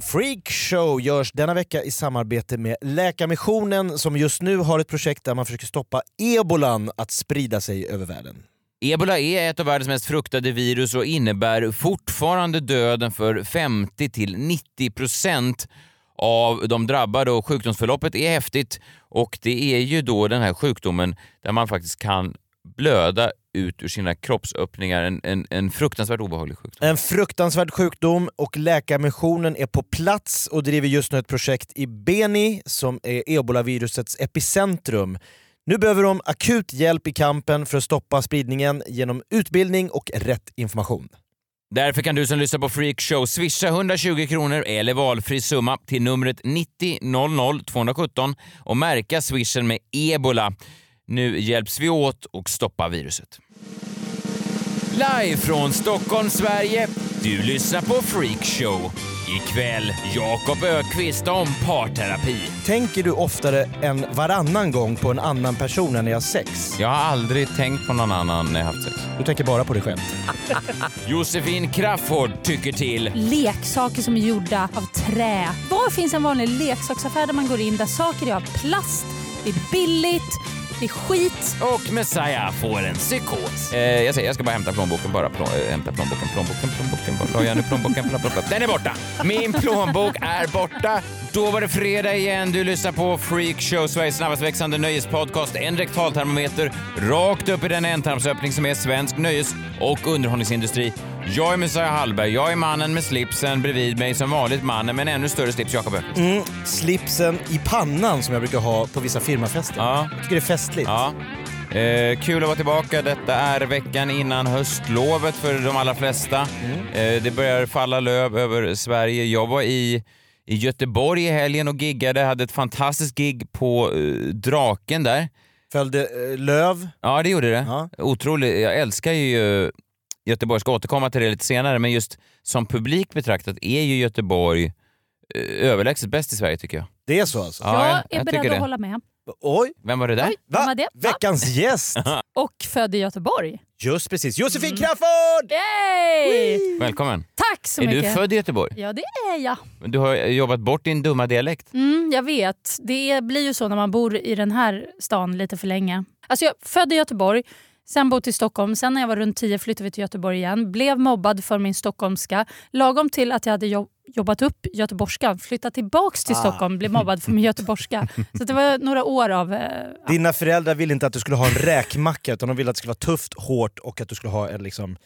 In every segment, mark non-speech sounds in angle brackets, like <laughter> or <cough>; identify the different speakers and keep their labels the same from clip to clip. Speaker 1: Freak Show görs denna vecka i samarbete med Läkarmissionen som just nu har ett projekt där man försöker stoppa ebolan att sprida sig över världen.
Speaker 2: Ebola är ett av världens mest fruktade virus och innebär fortfarande döden för 50 till 90 procent av de drabbade och sjukdomsförloppet är häftigt och det är ju då den här sjukdomen där man faktiskt kan blöda ut ur sina kroppsöppningar. En, en, en fruktansvärt obehaglig sjukdom.
Speaker 1: En fruktansvärd sjukdom och Läkarmissionen är på plats och driver just nu ett projekt i Beni som är ebolavirusets epicentrum. Nu behöver de akut hjälp i kampen för att stoppa spridningen genom utbildning och rätt information.
Speaker 2: Därför kan du som lyssnar på Freak Show swisha 120 kronor eller valfri summa till numret 90 00 217 och märka swishen med ebola. Nu hjälps vi åt och stoppa viruset. Live från Stockholm, Sverige. Du lyssnar på Freak Show. Ikväll Jakob Ökvist om parterapi.
Speaker 1: Tänker du oftare än varannan gång på en annan person än när jag har sex?
Speaker 2: Jag har aldrig tänkt på någon annan när jag haft sex.
Speaker 1: Du tänker bara på dig själv?
Speaker 2: Josefin Crafoord tycker till.
Speaker 3: leksaker som är gjorda av trä. Var finns en vanlig leksaksaffär där man går in där saker är av plast, det är billigt, det är skit.
Speaker 2: Och Messiah får en psykos. Eh, jag säger, jag ska bara hämta plånboken bara. Plå, eh, hämta plånboken, plånboken, plånboken. Vart la jag nu plånboken? Plå, plå, plå. Den är borta! Min plånbok är borta. Då var det fredag igen. Du lyssnar på Freak Show, Sveriges snabbast växande nöjespodcast. En rektaltermometer rakt upp i den ändtarmsöppning som är svensk nöjes och underhållningsindustri. Jag är Messiah Hallberg. Jag är mannen med slipsen bredvid mig som vanligt mannen men ännu större slips, Jakob Öqvist.
Speaker 1: Mm, slipsen i pannan som jag brukar ha på vissa firmafester.
Speaker 2: Ja.
Speaker 1: Jag tycker det är festligt.
Speaker 2: Ja. Eh, kul att vara tillbaka. Detta är veckan innan höstlovet för de allra flesta. Eh, det börjar falla löv över Sverige. Jag var i, i Göteborg i helgen och giggade. Hade ett fantastiskt gig på eh, Draken där.
Speaker 1: Följde eh, löv.
Speaker 2: Ja, det gjorde det.
Speaker 1: Ja.
Speaker 2: Otroligt. Jag älskar ju eh, Göteborg. ska återkomma till det lite senare, men just som publik betraktat är ju Göteborg eh, överlägset bäst i Sverige tycker jag.
Speaker 1: Det är så alltså?
Speaker 2: Ja, jag-
Speaker 3: jag är
Speaker 2: jag
Speaker 3: beredd
Speaker 2: tycker
Speaker 3: att
Speaker 2: det.
Speaker 3: hålla med.
Speaker 1: Oj!
Speaker 2: Vem var det där?
Speaker 1: Va?
Speaker 3: Vem var det? Va?
Speaker 1: Veckans gäst!
Speaker 3: Och född i Göteborg.
Speaker 1: Just precis, Josefin Crafoord!
Speaker 3: Yay!
Speaker 2: Välkommen.
Speaker 3: Tack så
Speaker 2: är
Speaker 3: mycket.
Speaker 2: du född i Göteborg?
Speaker 3: Ja det är jag.
Speaker 2: Du har jobbat bort din dumma dialekt.
Speaker 3: Mm, jag vet. Det blir ju så när man bor i den här stan lite för länge. Alltså jag född i Göteborg, sen bott i Stockholm, sen när jag var runt 10 flyttade vi till Göteborg igen. Blev mobbad för min stockholmska. Lagom till att jag hade jobb jobbat upp göteborgskan, flyttat tillbaks
Speaker 1: Ah.
Speaker 3: till Stockholm, blev mobbad för min göteborgska. Så det var några år av... Eh,
Speaker 1: Dina föräldrar ville inte att du skulle ha en räkmacka utan de ville att det skulle vara tufft, hårt och att du skulle ha en liksom...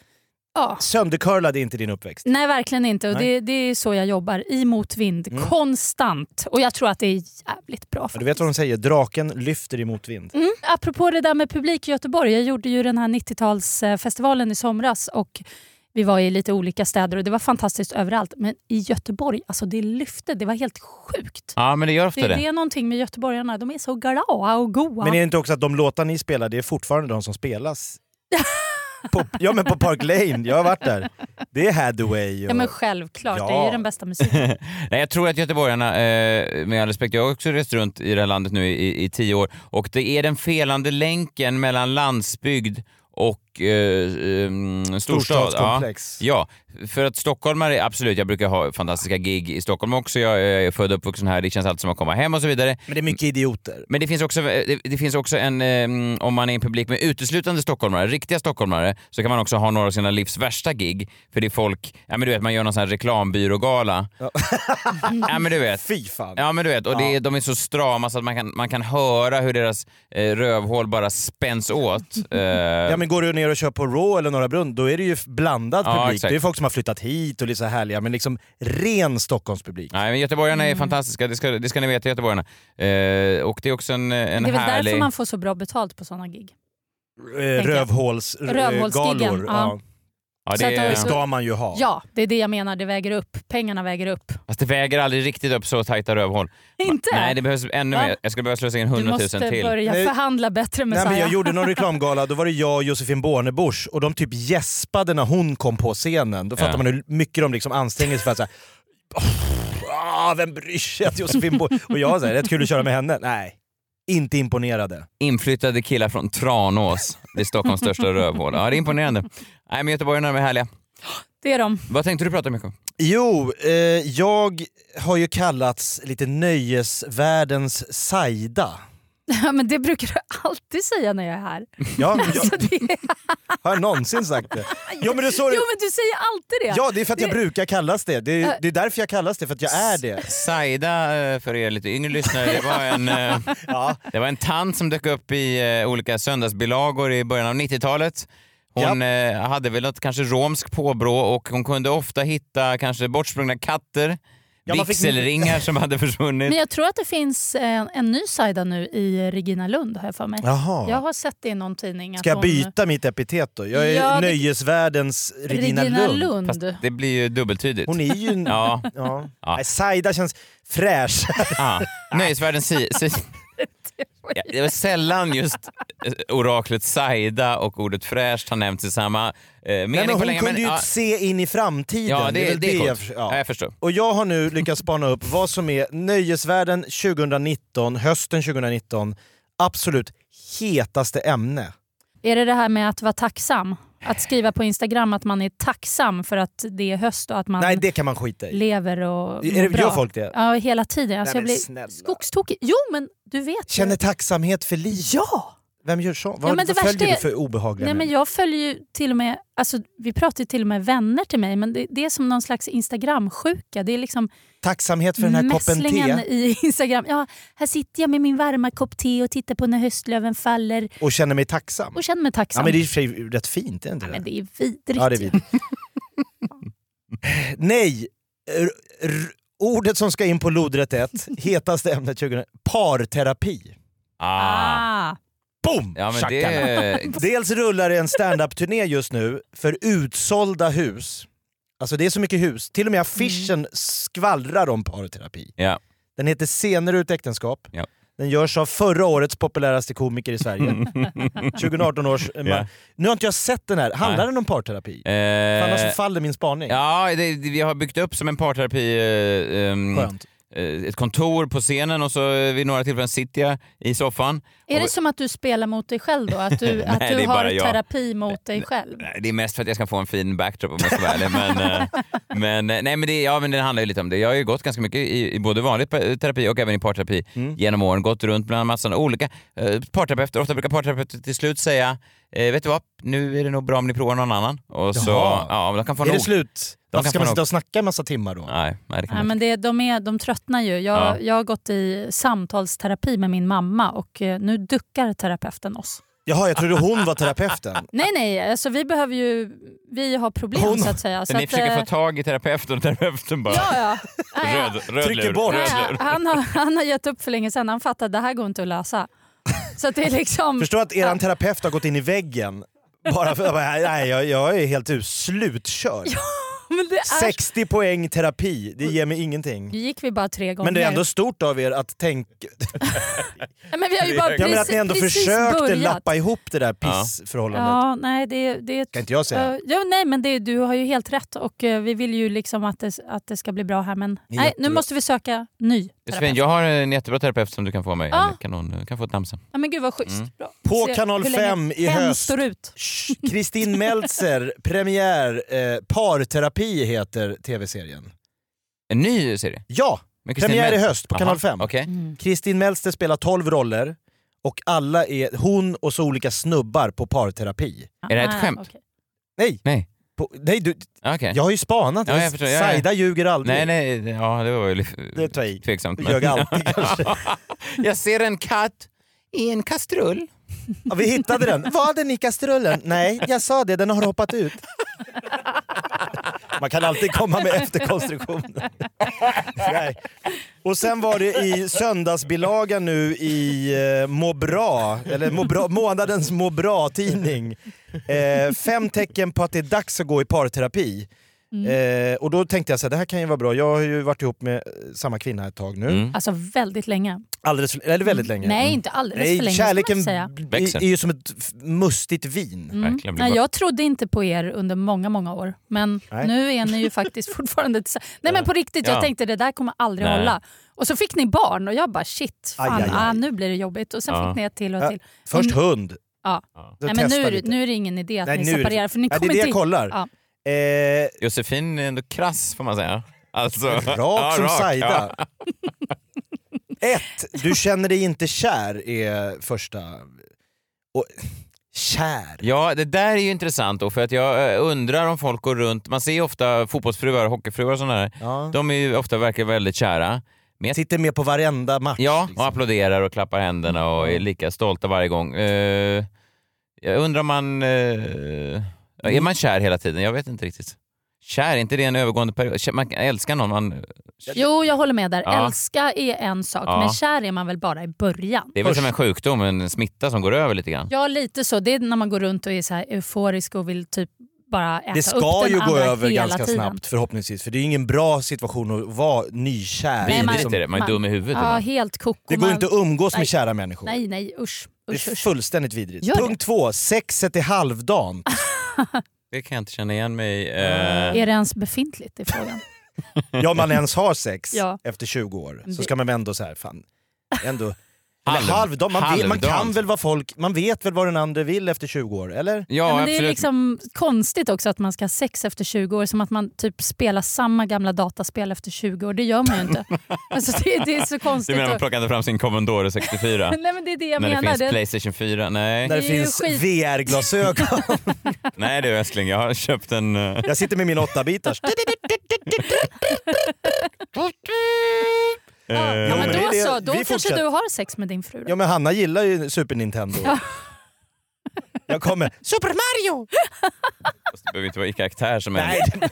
Speaker 3: ja.
Speaker 1: Söndercurlad är inte din uppväxt.
Speaker 3: Nej, verkligen inte. Och
Speaker 1: Nej. Mm.
Speaker 3: det, det är så jag jobbar, i motvind, konstant. Och jag tror att det är jävligt bra.
Speaker 1: Ja, Du vet vad de säger, draken lyfter i motvind.
Speaker 3: Mm. Apropå det där med publik i Göteborg. Jag gjorde ju den här 90-talsfestivalen i somras och vi var i lite olika städer och det var fantastiskt överallt. Men i Göteborg, alltså det lyfte. Det var helt sjukt.
Speaker 2: Ja, men det gör ofta
Speaker 3: Det,
Speaker 2: det.
Speaker 3: det är någonting med göteborgarna. De är så glada och goa.
Speaker 1: Men är det inte också att de låtar ni spelar, det är fortfarande de som spelas? på, ja men på Park Lane, jag har varit där. Det är Hathaway och...
Speaker 3: Ja men självklart,
Speaker 1: Ja.
Speaker 3: det är ju den bästa musiken.
Speaker 2: Nej, jag tror att göteborgarna, eh, med all respekt, jag har också rest runt i det här landet nu i, i tio år och det är den felande länken mellan landsbygd och eh, em, storstad. Ja.
Speaker 1: Storstadskomplex.
Speaker 2: ja, för att stockholmare, absolut, jag brukar ha fantastiska gig i Stockholm också. Jag är född och uppvuxen här, det känns alltid som att komma hem och så vidare.
Speaker 1: Men det är mycket idioter.
Speaker 2: Men det finns också, eh, det, det finns också en, eh, om man är i en publik med uteslutande stockholmare, riktiga stockholmare, så kan man också ha några av sina livs värsta gig. För det är folk, ja men du vet man gör någon sån här reklambyrågala. <laughs> Ja. men du vet.
Speaker 1: Fy fan.
Speaker 2: Ja men du vet, och det,
Speaker 1: Ja.
Speaker 2: är- de är så strama så att man kan, man kan höra hur deras eh, rövhål bara spänns
Speaker 3: <laughs>
Speaker 2: åt. Eh,
Speaker 1: Ja, men går du ner och kör på Raw eller Norra Brunn, då är det ju blandad
Speaker 2: Ja,
Speaker 1: publik.
Speaker 2: exakt.
Speaker 1: Det är folk som har flyttat hit och lite så här härliga, men liksom ren Stockholmspublik.
Speaker 2: Nej, men göteborgarna
Speaker 3: Mm.
Speaker 2: är fantastiska, det ska, det ska ni veta göteborgarna. Eh, och det är också en, en <laughs>
Speaker 3: det är väl
Speaker 2: härlig...
Speaker 3: därför man får så bra betalt på sådana gig.
Speaker 1: Eh, Rövhåls, eh,
Speaker 3: Rövhålsgiggen,
Speaker 1: galor.
Speaker 3: ja.
Speaker 2: Ja,
Speaker 3: Så att
Speaker 2: det
Speaker 3: de-
Speaker 2: är,
Speaker 1: Det ska man ju ha.
Speaker 3: Ja, det är det jag menar. Det väger upp. Pengarna väger upp.
Speaker 2: fast det väger aldrig riktigt upp så tajta rövhål.
Speaker 3: <laughs> Inte?
Speaker 2: Nej, det behövs ännu
Speaker 3: Va?
Speaker 2: mer. Jag skulle behöva slösa in
Speaker 3: du
Speaker 2: 100 000
Speaker 3: måste
Speaker 2: till.
Speaker 3: börja
Speaker 1: Nej.
Speaker 3: förhandla bättre med
Speaker 1: Nej, men
Speaker 3: Saja.
Speaker 1: jag gjorde någon reklamgala, då var det jag och Josefin Bornebusch och de typ gäspade när hon kom på scenen. Då fattar
Speaker 2: Ja.
Speaker 1: man hur mycket de liksom anstränger sig för att säga ah, vem bryr sig att Josefin Bornebusch... Och jag säger rätt kul att köra med henne. Nej, inte imponerade.
Speaker 2: Inflyttade killar från Tranås. Det är Stockholms
Speaker 3: <laughs>
Speaker 2: största rövhål. Ja, det är imponerande. Nej, men göteborgarna är härliga.
Speaker 3: Det är de. <laughs>
Speaker 2: Vad tänkte du prata mycket om?
Speaker 1: Jo, eh, jag har ju kallats lite nöjesvärldens Saida.
Speaker 3: Ja, men det brukar du <laughs> alltid säga när jag
Speaker 2: <laughs>
Speaker 3: är här.
Speaker 1: Ja, <laughs> jag,
Speaker 3: Så det är...
Speaker 1: har jag någonsin sagt det? Ja, men det är så det...
Speaker 3: Jo men du säger alltid det.
Speaker 1: Ja, det är för att jag brukar kallas det. Det är, det är därför jag kallas det, för att jag är
Speaker 2: <laughs>
Speaker 1: det.
Speaker 2: Saida, eh, för er lite yngre lyssnare, det var en, <laughs> eh, det var en tant som dök upp i eh, olika söndagsbilagor i början av 90-talet. Hon eh, hade väl något kanske romsk påbrå och hon kunde ofta hitta kanske bortsprungna katter,
Speaker 1: Ja, man fick-
Speaker 2: vigselringar som hade försvunnit.
Speaker 3: Men jag tror att det finns en, en ny Saida nu i Regina Lund har jag för mig.
Speaker 1: Jaha.
Speaker 3: Jag har sett det i någon tidning. att
Speaker 1: Ska jag
Speaker 3: hon-
Speaker 1: byta mitt epitet då? Jag är
Speaker 3: Ja, det-
Speaker 1: nöjesvärldens Regina, Lund.
Speaker 2: Fast det blir ju dubbeltydigt.
Speaker 1: Hon är ju...
Speaker 2: Ja.
Speaker 1: Ja.
Speaker 2: Ja.
Speaker 1: Nej, Saida känns fräsch.
Speaker 2: <laughs> Ah, nöjesvärlden si, si. <laughs> Ja, Det var sällan just eh, oraklet Saida och ordet fräscht har nämnts i samma eh, mening
Speaker 1: Nej, men
Speaker 2: på
Speaker 1: hon
Speaker 2: länge.
Speaker 1: kunde ju
Speaker 2: ja,
Speaker 1: se in i framtiden.
Speaker 2: ja,
Speaker 1: är
Speaker 2: det,
Speaker 1: väl
Speaker 2: det är
Speaker 1: jag,
Speaker 2: coolt.
Speaker 1: förs-
Speaker 2: Ja.
Speaker 1: ja.
Speaker 2: jag förstår.
Speaker 1: Och jag har nu lyckats spana upp vad som är nöjesvärlden 2019, hösten 2019, absolut hetaste ämne.
Speaker 3: Är det det här med att vara tacksam? Att skriva på Instagram att man är tacksam för att det är höst och att man
Speaker 1: Nej, det kan man skita i.
Speaker 3: lever och
Speaker 1: Är det-
Speaker 3: mår bra.
Speaker 1: gör folk det?
Speaker 3: Ja, hela tiden.
Speaker 1: Nej,
Speaker 3: Alltså, jag
Speaker 1: men
Speaker 3: blir
Speaker 1: snälla.
Speaker 3: skogstokig. Jo, men du vet ju.
Speaker 1: Känner tacksamhet för liv.
Speaker 3: Ja!
Speaker 1: Vem gör så? Vad,
Speaker 3: men det
Speaker 1: vad följer
Speaker 3: värsta
Speaker 1: du för obehagliga
Speaker 3: Nej, men
Speaker 1: människor?
Speaker 3: jag följer ju till och med, alltså, vi pratar ju till och med vänner till mig, men det, det är som någon slags Instagram-sjuka. Det är liksom
Speaker 1: Tacksamhet för den här koppen
Speaker 3: mässlingen
Speaker 1: te
Speaker 3: i Instagram. Ja, här sitter jag med min varma kopp te och tittar på när höstlöven faller
Speaker 1: och känner mig tacksam.
Speaker 3: och känner mig tacksam.
Speaker 1: Ja, men det är i och för sig rätt fint, är det inte det?
Speaker 3: Nej, men det är vidrigt.
Speaker 1: Ja, det är vi. Nej! R- r- ordet som ska in på lodrätt 1, hetaste ämnet 2000, parterapi.
Speaker 2: Ah.
Speaker 3: Ah.
Speaker 1: Boom!
Speaker 2: Ja, men
Speaker 1: Tjackarna.
Speaker 2: det,
Speaker 1: Dels rullar det en standup-turné just nu för utsålda hus. Alltså det är så mycket hus. Till och med affischen
Speaker 2: Mm.
Speaker 1: skvallrar om parterapi.
Speaker 2: ja.
Speaker 1: Den heter Scener ut äktenskap.
Speaker 2: Ja.
Speaker 1: Den görs av förra årets populäraste komiker i Sverige.
Speaker 2: <laughs>
Speaker 1: 2018 års... eh, man-
Speaker 2: Ja.
Speaker 1: Nu har inte jag sett den här. Handlar
Speaker 2: Nej.
Speaker 1: den om parterapi? För
Speaker 2: Eh,
Speaker 1: Annars så faller min spaning.
Speaker 2: ja det, det- vi har byggt upp som en parterapi... Eh, ehm,
Speaker 1: Skönt.
Speaker 2: eh, ett kontor på scenen och så eh, vid några tillfällen sitter jag i soffan.
Speaker 3: Är det
Speaker 2: och,
Speaker 3: som att du spelar mot dig själv då?
Speaker 2: <laughs>
Speaker 3: Att du, att
Speaker 2: Nej, det
Speaker 3: du
Speaker 2: är
Speaker 3: har
Speaker 2: bara jag.
Speaker 3: terapi mot dig själv?
Speaker 2: Nej, det är mest för att jag ska få en fin backdrop om jag ska vara ärlig. Men,
Speaker 1: <laughs>
Speaker 2: eh, men, eh, nej, men, det, ja, men det handlar ju lite om det. Jag har ju gått ganska mycket i, i både vanlig pa- terapi och även i parterapi
Speaker 1: Mm.
Speaker 2: genom åren. Gått runt bland massan av olika eh, parterapeuter. Ofta brukar parterapeuter till slut säga eh, vet du vad, nu är det nog bra om ni provar någon annan. Och så,
Speaker 1: Jaha.
Speaker 2: ja, men de kan få
Speaker 1: Är det
Speaker 2: nog.
Speaker 1: slut? Varför
Speaker 2: kan
Speaker 1: ska
Speaker 2: få
Speaker 1: man
Speaker 2: nog.
Speaker 1: sitta och snacka en massa timmar då?
Speaker 2: Nej, nej, det kan
Speaker 3: Nej,
Speaker 2: man
Speaker 3: men det, de, är, de tröttnar ju. Jag,
Speaker 2: Ja.
Speaker 3: jag har gått i samtalsterapi med min mamma och eh, nu duckar terapeuten oss.
Speaker 1: Jaha, jag trodde hon var terapeuten.
Speaker 3: Nej, nej, alltså, vi behöver ju... Vi har problem
Speaker 1: Hon-
Speaker 3: så att säga. Så
Speaker 2: inte. Ni
Speaker 3: att,
Speaker 2: försöker
Speaker 3: eh,
Speaker 2: få tag i terapeuten och terapeuten bara
Speaker 3: Ja, ja. Nej, ja.
Speaker 2: röd, röd
Speaker 1: Trycker
Speaker 2: lur,
Speaker 1: bort.
Speaker 2: röd
Speaker 3: Nej,
Speaker 2: lur.
Speaker 3: han, har, han har gett upp för länge sedan. Han fattar att det här går inte att lösa. Så att det är liksom...
Speaker 1: Förstår att eran terapeut har gått in i väggen bara för att nej, jag, jag är helt ur, slutkörd.
Speaker 3: Men det är,
Speaker 1: 60 poäng terapi, det ger mig
Speaker 3: Nu
Speaker 1: ingenting.
Speaker 3: gick vi bara tre gånger.
Speaker 1: Men det är ändå stort av er att tänka...
Speaker 3: Nej, men vi har ju bara
Speaker 1: Jag
Speaker 3: precis,
Speaker 1: menar att ni ändå
Speaker 3: precis
Speaker 1: försökte
Speaker 3: börjat.
Speaker 1: lappa ihop det där pissförhållandet.
Speaker 3: Ja, nej, det, det
Speaker 1: Kan inte jag säga.
Speaker 3: Eh, ja, nej, men det, du har ju helt rätt och eh, vi vill ju liksom att det, att det ska bli bra här men nej, nu
Speaker 1: Jättebra.
Speaker 3: måste vi söka ny
Speaker 2: Josefin,
Speaker 3: terapeut.
Speaker 2: jag har en jättebra terapeut som du kan få av mig.
Speaker 3: Ja.
Speaker 2: En Kanon, du kan få ett namn sen.
Speaker 3: Ja, men gud vad schysst.
Speaker 2: Mm.
Speaker 3: Bra.
Speaker 1: På
Speaker 3: Se
Speaker 1: Kanal
Speaker 3: hur länge
Speaker 1: 5 i
Speaker 3: hen
Speaker 1: höst.
Speaker 3: står ut.
Speaker 1: Shh, Kristin Meltzer, premiär. Eh, parterapi heter tv-serien.
Speaker 2: En ny serie?
Speaker 1: Ja,
Speaker 2: Med Kristin
Speaker 1: premiär i
Speaker 2: Meltzer.
Speaker 1: höst på
Speaker 2: Aha,
Speaker 1: Kanal 5.
Speaker 2: Okej.
Speaker 1: Kristin Meltzer spelar 12 roller och alla är hon och så olika snubbar på parterapi.
Speaker 2: Är det här ett
Speaker 3: Ah,
Speaker 2: skämt?
Speaker 3: okej.
Speaker 1: Nej!
Speaker 2: Nej.
Speaker 1: På, nej du,
Speaker 2: okej.
Speaker 1: jag har ju spanat.
Speaker 2: Ja, jag förstår. Ja, ja.
Speaker 1: Saida ljuger aldrig.
Speaker 2: Nej, nej, det- ja det var ju lite
Speaker 1: Det tar jag i.
Speaker 2: tveksamt.
Speaker 1: Du
Speaker 2: <laughs>
Speaker 1: ljög alltid kanske.
Speaker 2: jag ser en katt i en kastrull.
Speaker 1: Ja, vi hittade den. Var den i kastrullen? Nej, jag sa det. Den har hoppat ut. Man kan alltid komma
Speaker 2: <laughs>
Speaker 1: med efterkonstruktioner. Nej. Och sen var det i söndagsbilagan nu i eh, Må bra, eller må bra, månadens Må bra-tidning. Eh, fem tecken på att det är dags att gå i parterapi. Eh, och då tänkte jag så här, det här kan ju vara bra. Jag har ju varit ihop med eh, samma kvinna ett tag nu.
Speaker 2: Mm.
Speaker 3: Alltså väldigt länge.
Speaker 1: Alldeles, för- eller väldigt länge.
Speaker 3: Mm.
Speaker 1: Mm.
Speaker 3: Nej, inte alldeles för länge. ska man
Speaker 1: kärleken
Speaker 3: inte säga. Mm.
Speaker 1: b-
Speaker 2: Växer.
Speaker 1: är ju som ett f- mustigt vin.
Speaker 2: Verkligen blir
Speaker 3: Nej,
Speaker 2: bara-
Speaker 3: jag trodde inte på er under många, många år. Men
Speaker 1: Nej.
Speaker 3: nu är ni ju faktiskt <laughs> fortfarande tillsammans. Nej men på riktigt,
Speaker 2: Ja.
Speaker 3: jag tänkte det där kommer aldrig
Speaker 2: Nej.
Speaker 3: hålla. Och så fick ni barn och jag bara shit, fan,
Speaker 1: Aj, aj, aj.
Speaker 3: Ah, nu blir det jobbigt. Och sen
Speaker 2: Ja.
Speaker 3: fick ni ett till och
Speaker 1: Ja,
Speaker 3: till.
Speaker 1: Först hund.
Speaker 3: Mm. Ja.
Speaker 1: Då
Speaker 3: Nej, men nu,
Speaker 1: testar
Speaker 3: är det-
Speaker 1: lite.
Speaker 3: nu är det ingen idé att
Speaker 1: Nej,
Speaker 3: ni
Speaker 1: nu är det-
Speaker 3: separerar för ni
Speaker 1: Ja, det är
Speaker 3: kommer
Speaker 1: det jag
Speaker 3: inte...
Speaker 1: kollar.
Speaker 3: Ja.
Speaker 1: Eh,
Speaker 2: Josefin är ändå krass får man säga. Alltså,
Speaker 1: Rak
Speaker 2: Ja,
Speaker 1: som
Speaker 2: rak, <laughs>
Speaker 1: Saida.
Speaker 2: ja.
Speaker 1: Ett, du känner dig inte kär är första. Och, kär?
Speaker 2: Ja, det där är ju intressant då för att jag eh, undrar om folk går runt, man ser ju ofta fotbollsfruar, hockeyfruar och sådana där.
Speaker 1: Ja.
Speaker 2: De är ju ofta verkar väldigt kära.
Speaker 1: Sitter med på varenda match.
Speaker 2: Ja, och
Speaker 1: liksom.
Speaker 2: applåderar och klappar händerna och är lika stolta varje gång. Eh, jag undrar om man... eh, är man kär hela tiden? Jag vet inte riktigt. Kär, är inte det en övergående period? Kär- Man älskar någon, man...
Speaker 3: Jo, jag håller med där.
Speaker 2: Ja.
Speaker 3: Älska är en sak,
Speaker 2: Ja.
Speaker 3: men kär är man väl bara i början?
Speaker 2: Det är väl som en sjukdom, en smitta som går över lite grann.
Speaker 3: Ja, lite så. Det är när man går runt och är så här euforisk och vill typ bara äta
Speaker 1: Det
Speaker 3: upp
Speaker 1: ska
Speaker 3: den
Speaker 1: ju gå
Speaker 3: andra
Speaker 1: över
Speaker 3: hela
Speaker 1: ganska
Speaker 3: tiden.
Speaker 1: snabbt förhoppningsvis, för det är ju ingen bra situation att vara nykär.
Speaker 2: Nej,
Speaker 1: i,
Speaker 2: man-
Speaker 1: liksom.
Speaker 2: det är man är dum i huvudet
Speaker 3: Ja,
Speaker 2: ibland.
Speaker 3: helt koko.
Speaker 1: Det går
Speaker 3: Man-
Speaker 1: inte att umgås
Speaker 3: Nej.
Speaker 1: med kära människor.
Speaker 3: Nej, nej, usch. usch,
Speaker 1: Det är
Speaker 3: usch.
Speaker 1: fullständigt vidrigt.
Speaker 3: Gör det.
Speaker 1: Punkt två, sexet är
Speaker 3: <laughs>
Speaker 1: halvdant.
Speaker 2: Det kan jag inte känna igen mig i. Eh,
Speaker 3: Är det ens befintligt i frågan?
Speaker 1: Ja, om man ens har sex
Speaker 3: Ja.
Speaker 1: efter 20 år så
Speaker 3: Det-
Speaker 1: ska man väl ändå så här, fan, ändå...
Speaker 2: Halv-
Speaker 1: eller halvdant. Man, vet- man kan
Speaker 2: halvdant.
Speaker 1: väl vad folk... Man vet väl vad den andra vill efter 20 år, eller?
Speaker 2: Ja,
Speaker 3: men det är
Speaker 2: absolut.
Speaker 3: liksom konstigt också att man ska ha sex efter 20 år, som att man typ spelar samma gamla dataspel efter 20 år. Det gör man ju inte. alltså, det, det är så
Speaker 2: Du
Speaker 3: konstigt.
Speaker 2: menar man
Speaker 3: och-
Speaker 2: plockar inte fram sin Commodore 64?
Speaker 3: <laughs> Nej, men det är det <laughs> jag
Speaker 2: när det
Speaker 3: menar.
Speaker 2: finns
Speaker 3: Det-
Speaker 2: Playstation 4? Nej.
Speaker 1: När det
Speaker 3: Det är ju
Speaker 1: finns
Speaker 3: skit.
Speaker 1: VR-glasögon.
Speaker 2: Nej du Östling, jag har köpt en... eh,
Speaker 1: <laughs> Jag sitter med min
Speaker 3: <laughs>
Speaker 1: åttabitars.
Speaker 3: ja, ja, men
Speaker 1: men det
Speaker 3: då
Speaker 1: är det-
Speaker 3: så. Då
Speaker 1: vi
Speaker 3: kanske
Speaker 1: fortsätter.
Speaker 3: du har sex med din fru. Då.
Speaker 1: Ja men Hanna gillar ju Super Nintendo. Jag kommer. Super
Speaker 3: <laughs>
Speaker 1: Mario!
Speaker 2: Fast Det behöver inte vara i karaktär som
Speaker 1: Nej,
Speaker 2: är...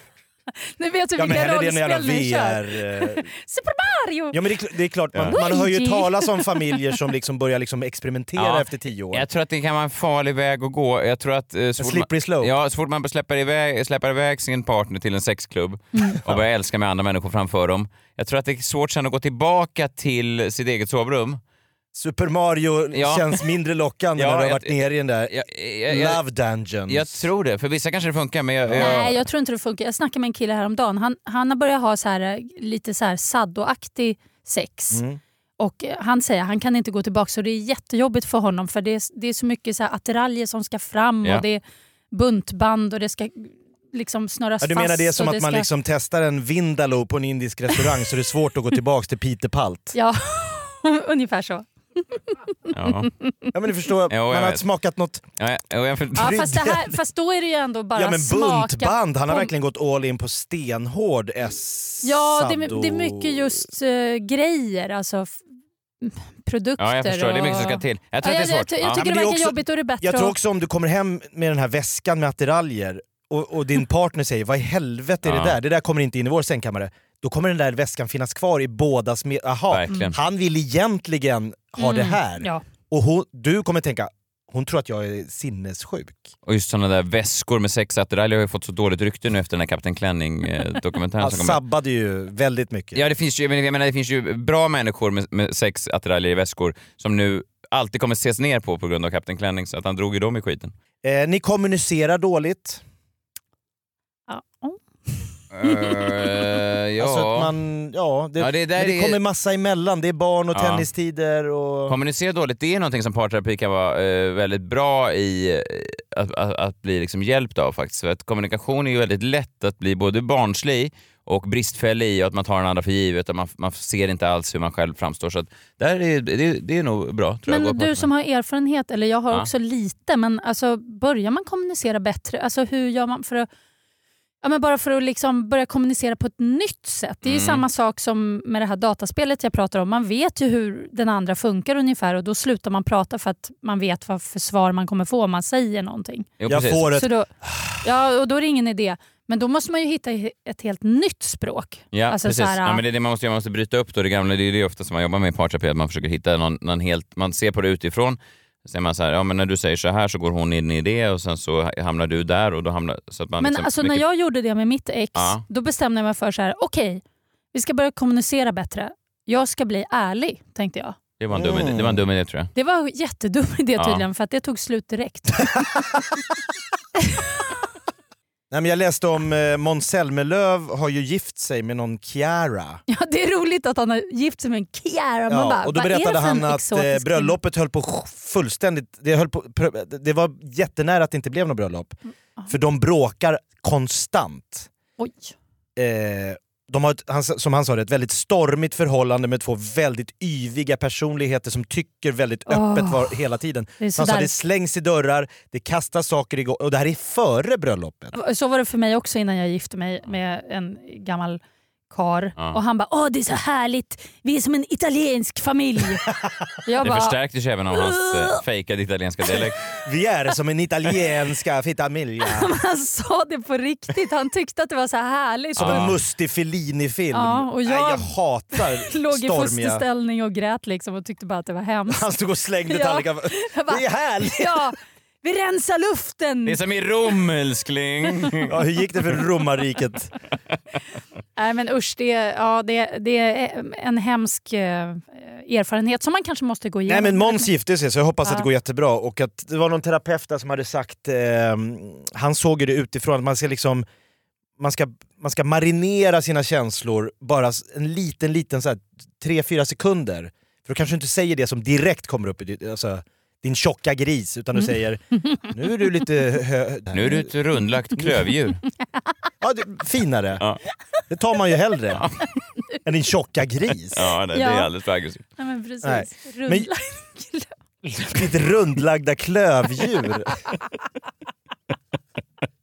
Speaker 3: Nu vet du
Speaker 1: ja, men
Speaker 3: vilka
Speaker 1: hellre det än någon jävla
Speaker 3: rollspel ni kör.
Speaker 1: VR. eh,
Speaker 3: Super Mario!
Speaker 1: Ja men det, är kl- det är klart, man,
Speaker 2: Ja.
Speaker 1: man hör ju
Speaker 3: Luigi.
Speaker 1: talas om familjer som liksom börjar liksom experimentera
Speaker 2: Ja.
Speaker 1: efter tio år.
Speaker 2: Jag tror att det kan vara en farlig väg att gå. Jag tror att eh, så
Speaker 1: En
Speaker 2: fort
Speaker 1: slippery
Speaker 2: man,
Speaker 1: slope.
Speaker 2: ja, så fort man släpper iväg, släpper iväg sin partner till en sexklubb
Speaker 1: Mm.
Speaker 2: och börjar älska med andra människor framför dem. Jag tror att det är svårt sen att gå tillbaka till sitt eget sovrum.
Speaker 1: Super Mario
Speaker 2: Ja.
Speaker 1: känns mindre lockande
Speaker 2: Ja,
Speaker 1: när du har
Speaker 2: jag-
Speaker 1: varit nere i den där
Speaker 2: Jag, jag, jag,
Speaker 1: Love Dungeons.
Speaker 2: jag tror det. För vissa kanske det funkar men jag...
Speaker 3: Nej,
Speaker 2: jag
Speaker 3: jag tror inte det funkar. Jag snackade med en kille häromdagen. Han, han har börjat ha så här, eh, lite så här saddoaktig sex.
Speaker 1: Mm.
Speaker 3: Och eh, Han säger han kan inte gå tillbaka så det är jättejobbigt för honom för det är, det är så mycket så här attiraljer som ska fram
Speaker 2: Ja.
Speaker 3: och det är buntband och det ska liksom snöras
Speaker 1: Ja, du
Speaker 3: fast.
Speaker 1: menar det är som
Speaker 3: och
Speaker 1: att man
Speaker 3: ska-
Speaker 1: liksom testar en vindaloo på en indisk restaurang så det är svårt att gå tillbaka till Peter
Speaker 3: <laughs>
Speaker 1: Palt.
Speaker 3: Ja, ungefär så.
Speaker 2: ja.
Speaker 1: Ja men du förstår,
Speaker 2: jag
Speaker 1: man har
Speaker 2: vet.
Speaker 1: smakat något...
Speaker 2: Ja, jag, jag, jag,
Speaker 3: Ja, fast, det här, fast då är det ju ändå bara
Speaker 1: ja men
Speaker 3: smaka
Speaker 1: buntband, han har
Speaker 3: på-
Speaker 1: verkligen gått all in på stenhård s
Speaker 3: Ja, det, är- det är mycket just eh, grejer, alltså f- produkter.
Speaker 2: ja, jag förstår. Det är mycket som
Speaker 3: och-
Speaker 2: ska till. Jag tror
Speaker 3: Ja,
Speaker 2: att
Speaker 3: jag,
Speaker 2: det är
Speaker 3: jag,
Speaker 2: svårt.
Speaker 3: jag,
Speaker 2: Ja.
Speaker 1: men
Speaker 3: tycker det
Speaker 1: det är
Speaker 3: verkar
Speaker 1: också-
Speaker 3: jobbigt och det är bättre
Speaker 1: Jag tror
Speaker 3: att-
Speaker 1: också om du kommer hem med den här väskan med attiraljer och, och din partner säger vad i helvete är
Speaker 2: Ja.
Speaker 1: det där? Det där kommer inte in i vår sängkammare. Då kommer den där väskan finnas kvar i bådas med... Aha,
Speaker 2: Verkligen.
Speaker 1: han vill egentligen ha det här.
Speaker 3: Mm. Ja.
Speaker 1: Och hon, du kommer tänka, hon tror att jag är sinnessjuk.
Speaker 2: Och just sådana där väskor med sex attiraljer har ju fått så dåligt rykte nu efter den här Kapten
Speaker 1: <laughs>
Speaker 2: Klänning-dokumentären
Speaker 1: Han
Speaker 2: som kom.
Speaker 1: sabbade ju väldigt mycket.
Speaker 2: Ja, det finns ju, jag menar- jag menar, det finns ju bra människor med, med sex attiraljer i väskor som nu alltid kommer ses ner på på grund av Kapten Klänning, så att han drog ju dem i skiten.
Speaker 1: Eh, ni kommunicerar dåligt.
Speaker 3: Ja. Oh.
Speaker 2: <laughs>
Speaker 1: Eh,
Speaker 2: ja.
Speaker 1: Alltså att man, ja, det,
Speaker 2: Ja, det där
Speaker 1: men det
Speaker 2: är-
Speaker 1: kommer massa emellan. Det är barn och
Speaker 2: Ja.
Speaker 1: tennistider och...
Speaker 2: Kommunicera dåligt, det är någonting som parterapi kan vara eh, väldigt bra i eh, att, att, att bli liksom hjälpt av faktiskt. För att kommunikation är ju väldigt lätt att bli både barnslig och bristfällig i och att man tar den andra för givet och man, man ser inte alls hur man själv framstår. Så att där är, det, det är nog bra. Tror jag,
Speaker 3: Men
Speaker 2: att gå på
Speaker 3: du som har erfarenhet, eller jag har
Speaker 2: Ja.
Speaker 3: också lite, men alltså, börjar man kommunicera bättre? Alltså hur gör man för att Ja, men bara för att liksom börja kommunicera på ett nytt sätt. Det är ju samma sak som med det här dataspelet jag pratar om. Man vet ju hur den andra funkar ungefär och då slutar man prata för att man vet vad för svar man kommer få om man säger någonting.
Speaker 2: Jo,
Speaker 1: Jag
Speaker 2: precis.
Speaker 1: får ett...
Speaker 3: Så då, ja, och då är det ingen idé. Men då måste man ju hitta ett helt nytt språk.
Speaker 2: Ja,
Speaker 3: Alltså
Speaker 2: precis.
Speaker 3: så här,
Speaker 2: ja, men det är det man måste göra. Man måste bryta upp då det gamla. Det är det ofta som man jobbar med i parterapi, att man försöker hitta någon, någon helt... Man ser på det utifrån. Så säger man så här, ja men när du säger så här så går hon in i det och sen så hamnar du där och då hamnar... Så att man
Speaker 3: Men
Speaker 2: liksom,
Speaker 3: alltså när
Speaker 2: vilket-
Speaker 3: jag gjorde det med mitt ex,
Speaker 2: Ja.
Speaker 3: då bestämde jag mig för så här, okej, vi ska börja kommunicera bättre. Jag ska bli ärlig, tänkte jag.
Speaker 2: Det var en dum idé, det var en dum idé tror jag.
Speaker 3: Det var en jättedum <laughs> idé
Speaker 2: Ja.
Speaker 3: tydligen, för att det tog slut direkt. <laughs>
Speaker 1: Nej, men jag läste om eh, Måns Zelmerlöw har ju gift sig med någon Chiara.
Speaker 3: Ja, det är roligt att han har gift sig med en Kiara. Man bara,
Speaker 1: och då
Speaker 3: vad är det
Speaker 1: berättade
Speaker 3: för
Speaker 1: han
Speaker 3: en
Speaker 1: att
Speaker 3: exotisk
Speaker 1: eh,
Speaker 3: kvinna?
Speaker 1: bröllopet höll på att fullständigt... Det, höll på, pr- det var jättenära att det inte blev något bröllop.
Speaker 3: Mm,
Speaker 1: För de bråkar konstant.
Speaker 3: Oj.
Speaker 1: eh, de har ett, han, som han sa det, ett väldigt stormigt förhållande med två väldigt yviga personligheter som tycker väldigt
Speaker 3: Åh.
Speaker 1: öppet var, hela tiden.
Speaker 3: Det är
Speaker 1: Han sa
Speaker 3: sådär.
Speaker 1: det slängs i dörrar, det kastas saker igång och det här är före bröllopet.
Speaker 3: Så var det för mig också innan jag gifte mig med en gammal kar.
Speaker 2: Ja.
Speaker 3: Och han bara, åh det är så härligt, vi är som en italiensk
Speaker 2: <laughs>
Speaker 3: familj. jag
Speaker 2: Det
Speaker 3: <laughs> bara,
Speaker 2: förstärktes ju även av hans eh, fejkade italienska dialekt.
Speaker 1: Vi är som en italienska familj.
Speaker 3: <laughs> han sa det på riktigt. Han tyckte att det var så här härligt.
Speaker 1: Som en
Speaker 2: Ja.
Speaker 1: mustig Fellini-film.
Speaker 3: Ja, och jag-
Speaker 1: Nej, jag hatar
Speaker 3: <laughs> Låg i
Speaker 1: stormiga...
Speaker 3: fosterställning och grät liksom och tyckte bara att det
Speaker 1: <laughs>
Speaker 3: var hemskt.
Speaker 1: Han stod och slängde
Speaker 3: Ja.
Speaker 1: tallrikar.
Speaker 3: Jag bara,
Speaker 1: Det är härligt!
Speaker 3: <laughs> ja, vi rensar luften!
Speaker 2: Det är som i Rom älskling!
Speaker 1: Ja, hur gick det för
Speaker 3: <laughs>
Speaker 1: romarriket?
Speaker 3: Nej men usch, det, ja, det, det är en hemsk eh, erfarenhet som man kanske måste gå
Speaker 1: Nej
Speaker 3: igenom.
Speaker 1: men Måns gifte sig så jag hoppas att
Speaker 3: Ja.
Speaker 1: det går jättebra. Och att det var någon terapeut där som hade sagt, eh, han såg ju det utifrån, att man ska liksom man ska, man ska marinera sina känslor bara s- en liten, liten så här, tre, fyra sekunder. För då kanske du inte säger det som direkt kommer upp i ditt- alltså, din tjocka gris, utan
Speaker 3: Mm.
Speaker 1: du säger nu är du lite hö-
Speaker 2: Nu är du ett rundlagt klövdjur.
Speaker 1: ja, det, finare.
Speaker 2: Ja.
Speaker 1: Det tar man ju hellre än din tjocka gris.
Speaker 2: Ja, det, det
Speaker 3: Ja.
Speaker 2: är alldeles för aggressivt.
Speaker 3: Nej, men precis.
Speaker 1: Nej.
Speaker 3: Rulla
Speaker 1: Men- Ditt rundlagda klövdjur.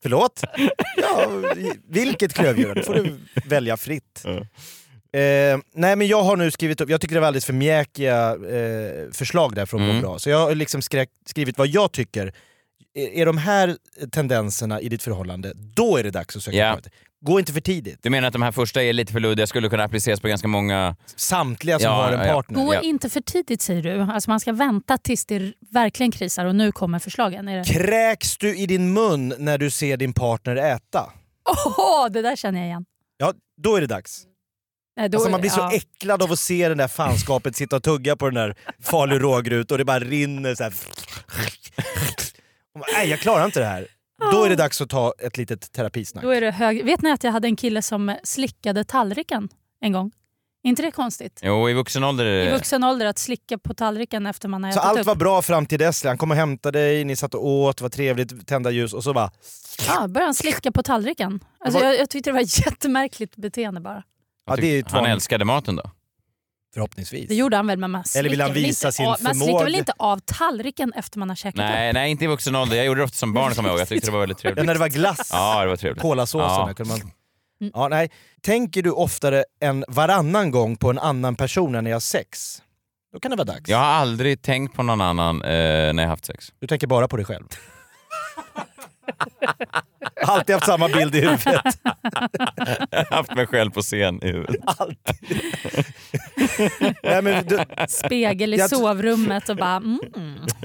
Speaker 1: Förlåt? Ja, vilket klövdjur? Det får du välja fritt. Eh, nej men jag har nu skrivit upp, jag tycker det var alldeles för mjäkiga eh, förslag där från Må
Speaker 2: Mm.
Speaker 1: bra. Så jag har liksom skräck, skrivit vad jag tycker. Är, är de här tendenserna i ditt förhållande, då är det dags att söka
Speaker 2: Ja.
Speaker 1: terapeut. Gå inte för tidigt.
Speaker 2: Du menar att de här första är lite för luddiga, skulle kunna appliceras på ganska många...
Speaker 1: Samtliga som
Speaker 2: Ja,
Speaker 1: har
Speaker 2: ja,
Speaker 1: en
Speaker 2: ja.
Speaker 1: partner.
Speaker 3: Gå
Speaker 2: Ja.
Speaker 3: inte för tidigt säger du. Alltså, man ska vänta tills det verkligen krisar och nu kommer förslagen. Är det...
Speaker 1: Kräks du i din mun när du ser din partner äta?
Speaker 3: Åh, det där känner jag igen.
Speaker 1: Ja, då är det dags.
Speaker 3: Nej, då-
Speaker 1: Alltså man blir så
Speaker 3: ja.
Speaker 1: äcklad av att se den där fanskapet sitta och tugga på den där Falu rågryt och det bara rinner så här. Och man, Nej, jag klarar inte det här. Då är det dags att ta ett litet terapisnack.
Speaker 3: Då är det hög... Vet ni att jag hade en kille som slickade tallriken en gång? Är inte det konstigt?
Speaker 2: Jo, i vuxen ålder är
Speaker 3: I
Speaker 2: det-
Speaker 3: vuxen ålder att slicka på tallriken efter man har
Speaker 1: Så
Speaker 3: ätit
Speaker 1: allt
Speaker 3: upp.
Speaker 1: var bra fram till dess. Han kom och hämtade dig, ni satt och åt, var trevligt, tända ljus och så bara...
Speaker 3: Ja, började han slicka på tallriken. Alltså,
Speaker 1: Det var-
Speaker 3: jag, jag tyckte det var ett jättemärkligt beteende bara.
Speaker 1: Ja, det är ju ett
Speaker 2: Han
Speaker 1: vanligt-
Speaker 2: älskade maten då?
Speaker 1: Förhoppningsvis.
Speaker 3: Det gjorde han väl men man slickar
Speaker 1: Eller vill han
Speaker 3: väl
Speaker 1: visa
Speaker 3: inte
Speaker 1: sin
Speaker 3: av, Man slickar
Speaker 1: förmåga?
Speaker 3: väl inte av tallriken efter man har käkat upp?
Speaker 2: Nej, nej, inte i vuxen ålder. Jag gjorde det ofta som barn kommer jag ihåg. Jag tyckte det var väldigt
Speaker 1: Ja,
Speaker 2: trevligt.
Speaker 1: när det var glass,
Speaker 2: Ja, det var trevligt.
Speaker 1: kolasåsen.
Speaker 2: Ja.
Speaker 1: där Kunde man...
Speaker 3: Mm.
Speaker 1: ja, nej. Tänker du oftare än varannan gång på en annan person än när jag har sex? Då kan det vara dags.
Speaker 2: Jag har aldrig tänkt på någon annan eh, när jag haft sex.
Speaker 1: Du tänker bara på dig själv. Alltid haft samma bild i huvudet.
Speaker 2: <laughs> Jag har haft mig själv på scen i huvudet.
Speaker 1: Alltid. Nej, men du,
Speaker 3: Spegel i
Speaker 1: Jag tr-
Speaker 3: sovrummet och bara mm,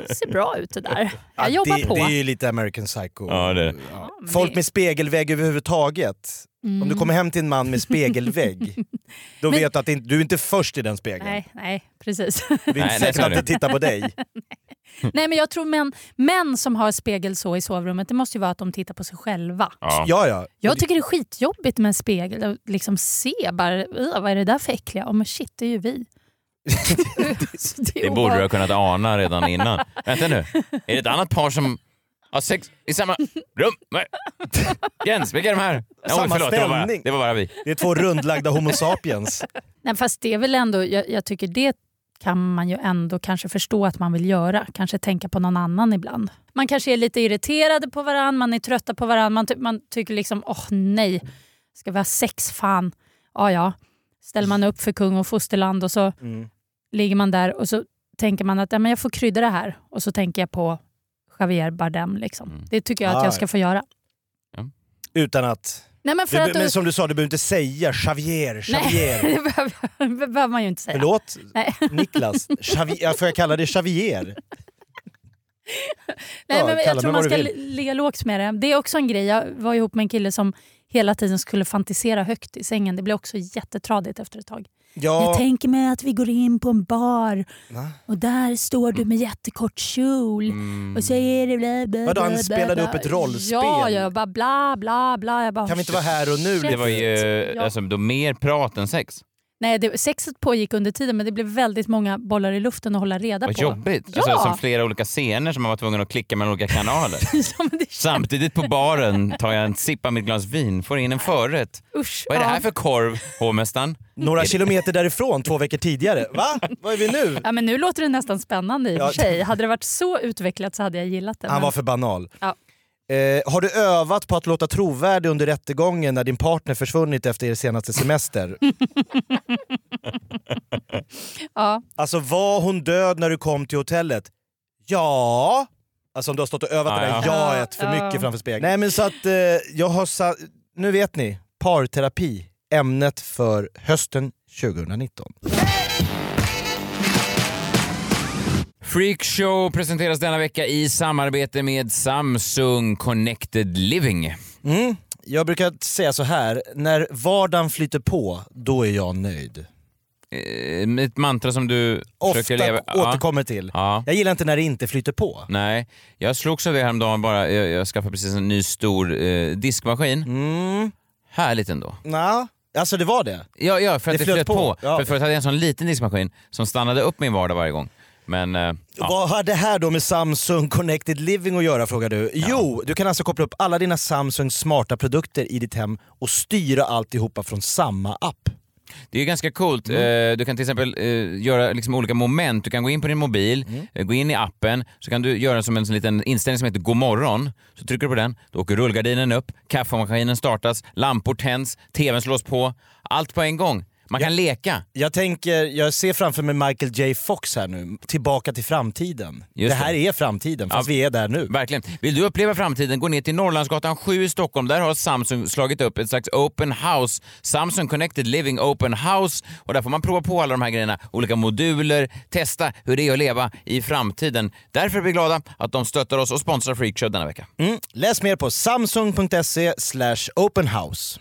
Speaker 3: det ser bra ut det där. Jag jobbar
Speaker 1: det,
Speaker 3: på.
Speaker 1: det är ju lite American Psycho.
Speaker 2: Ja, det är det.
Speaker 3: Ja, men
Speaker 1: Folk
Speaker 3: det-
Speaker 1: med spegelvägg överhuvudtaget. Om du kommer hem till en man med spegelvägg, då
Speaker 3: Mm. Men-
Speaker 1: vet du att det inte- du är inte först i den spegeln.
Speaker 3: Nej, nej, precis. <laughs>
Speaker 1: Det är inte
Speaker 2: Nej, nej,
Speaker 1: säkert
Speaker 2: så är
Speaker 1: att
Speaker 2: det.
Speaker 1: det tittar på dig.
Speaker 3: nej men jag tror män, män som har spegel så i sovrummet, det måste ju vara att de tittar på sig själva.
Speaker 2: Ja.
Speaker 1: Ja, ja.
Speaker 3: Jag tycker det är skitjobbigt med en spegel. Att liksom se bara, "Ugh, vad är det där för äckliga? Ja men shit, det är
Speaker 2: <laughs>
Speaker 3: ju vi. <laughs> Så
Speaker 2: Det
Speaker 3: är
Speaker 2: borde du ha
Speaker 3: obehagligt.
Speaker 2: kunnat ana redan innan. Vänta nu, är det ett annat par som har sex i samma rum? Nej. Jens, vilka är de här? Nej,
Speaker 1: Samma
Speaker 2: förlåt, det var, bara,
Speaker 1: ställning.
Speaker 2: det var bara vi.
Speaker 1: Det är två rundlagda homo sapiens.
Speaker 3: Nej, fast det är väl ändå, jag, jag tycker det kan man ju ändå kanske förstå att man vill göra. Kanske tänka på någon annan ibland. Man kanske är lite irriterade på varandra, man är trötta på varandra. Man, ty- man tycker liksom, åh nej, ska vi ha sex? Fan. Ja, ja. Ställer man upp för kung och fosterland och så
Speaker 1: Mm.
Speaker 3: ligger man där och så tänker man att ja, men jag får krydda det här. Och så tänker jag på Javier Bardem. Liksom. Det tycker jag att
Speaker 1: Ah,
Speaker 3: jag ska få göra.
Speaker 1: Utan att...
Speaker 3: Nej, men för
Speaker 1: Du,
Speaker 3: att
Speaker 1: men som du sa, du behöver inte säga Xavier, Xavier.
Speaker 3: Nej, <laughs> det behöver, det behöver man ju inte säga.
Speaker 1: Förlåt,
Speaker 3: Nej.
Speaker 1: Niklas. Xavier, ja, får jag kalla dig Xavier?
Speaker 3: Nej,
Speaker 1: Ja,
Speaker 3: men jag
Speaker 1: kalla mig
Speaker 3: tror man
Speaker 1: vad
Speaker 3: ska
Speaker 1: du
Speaker 3: li- ligga lågt med det. Det är också en grej. Jag var ihop med en kille som hela tiden skulle fantisera högt i sängen. Det blev också jättetradigt efter ett tag. Jag
Speaker 1: Ja,
Speaker 3: tänker mig att vi går in på en bar
Speaker 1: Va?
Speaker 3: och där står du med jättekort kjol och så är det bla bla
Speaker 1: Mm. Vadå, han
Speaker 3: bla, bla,
Speaker 1: spelade
Speaker 3: bla.
Speaker 1: upp ett rollspel?
Speaker 3: Ja, jag bara bla bla bla. Jag bara,
Speaker 1: kan vi inte vara här och nu?
Speaker 3: Shit.
Speaker 2: Det var ju
Speaker 3: Ja.
Speaker 2: alltså, då mer prat än sex.
Speaker 3: Nej, det, sexet pågick under tiden men det blev väldigt många bollar i luften att hålla reda
Speaker 2: Vad
Speaker 3: på.
Speaker 2: jobbigt.
Speaker 3: Ja.
Speaker 2: Alltså, som flera olika scener som man var tvungen att klicka mellan olika kanaler.
Speaker 3: <laughs> Ja, men det,
Speaker 2: Samtidigt på baren tar jag en sipp av mitt glas vin, får in en förrätt.
Speaker 3: usch,
Speaker 2: Vad är det
Speaker 3: ja.
Speaker 2: här för korv, hovmästaren?
Speaker 1: Några kilometer därifrån, två veckor tidigare. Va? Var är vi nu?
Speaker 3: Ja, men nu låter det nästan spännande i och
Speaker 1: Ja.
Speaker 3: för sig. Hade det varit så utvecklat så hade jag gillat det.
Speaker 1: Han
Speaker 3: men-
Speaker 1: var för banal.
Speaker 3: Ja.
Speaker 1: Eh, har du övat på att låta trovärdig under rättegången när din partner försvunnit efter er senaste semester?
Speaker 3: <laughs> ja.
Speaker 1: Alltså var hon död när du kom till hotellet? Ja. Alltså om du har stått och övat det
Speaker 2: Ja,
Speaker 1: där
Speaker 3: ja.
Speaker 1: jaet för
Speaker 3: Ja.
Speaker 1: mycket framför spegeln. Nej men så att eh, jag har sa- Nu vet ni. Parterapi. Ämnet för hösten 2019.
Speaker 2: Freakshow presenteras denna vecka i samarbete med Samsung Connected Living.
Speaker 1: Mm. Jag brukar säga så här. När vardagen flyter på, då är jag nöjd.
Speaker 2: Eh, Ett mantra som du
Speaker 1: Ofta
Speaker 2: försöker leva... Ja.
Speaker 1: återkommer till.
Speaker 2: Ja.
Speaker 1: Jag gillar inte när det inte flyter på.
Speaker 2: Nej, jag slogs av det häromdagen bara. Jag, jag skaffade precis en ny stor eh, diskmaskin.
Speaker 1: Mm.
Speaker 2: Härligt ändå.
Speaker 1: Nå. Alltså det var det.
Speaker 2: Ja, ja för att det, flöt på.
Speaker 1: Ja.
Speaker 2: För förut hade jag en sån liten diskmaskin som stannade upp min vardag varje gång. Men eh, ja.
Speaker 1: Vad har det här då med Samsung Connected Living att göra frågar du? Jo, du kan alltså koppla upp alla dina Samsung smarta produkter i ditt hem och styra alltihopa från samma app.
Speaker 2: det är ju ganska coolt. Eh, du kan till exempel eh, göra liksom olika moment. Du kan gå in på din mobil, eh, gå in i appen, så kan du göra som en sån liten inställning som heter God morgon. Så trycker du på den, då åker rullgardinen upp, kaffemaskinen startas, lampor tänds, tvn slås på. Allt på en gång. Man kan leka.
Speaker 1: Jag tänker, jag ser framför mig Michael J Fox här nu, Tillbaka till framtiden.
Speaker 2: Just
Speaker 1: det här är framtiden, fast
Speaker 2: Ja.
Speaker 1: vi är där nu.
Speaker 2: Verkligen. Vill du uppleva framtiden, gå ner till Norrlandsgatan 7 i Stockholm. Där har Samsung slagit upp ett slags open house. Samsung Connected Living Open House. Och där får man prova på alla de här grejerna. Olika moduler, testa hur det är att leva i framtiden. Därför är vi glada att de stöttar oss och sponsrar Freakshow denna vecka.
Speaker 1: Mm. Läs mer på samsung.se openhouse.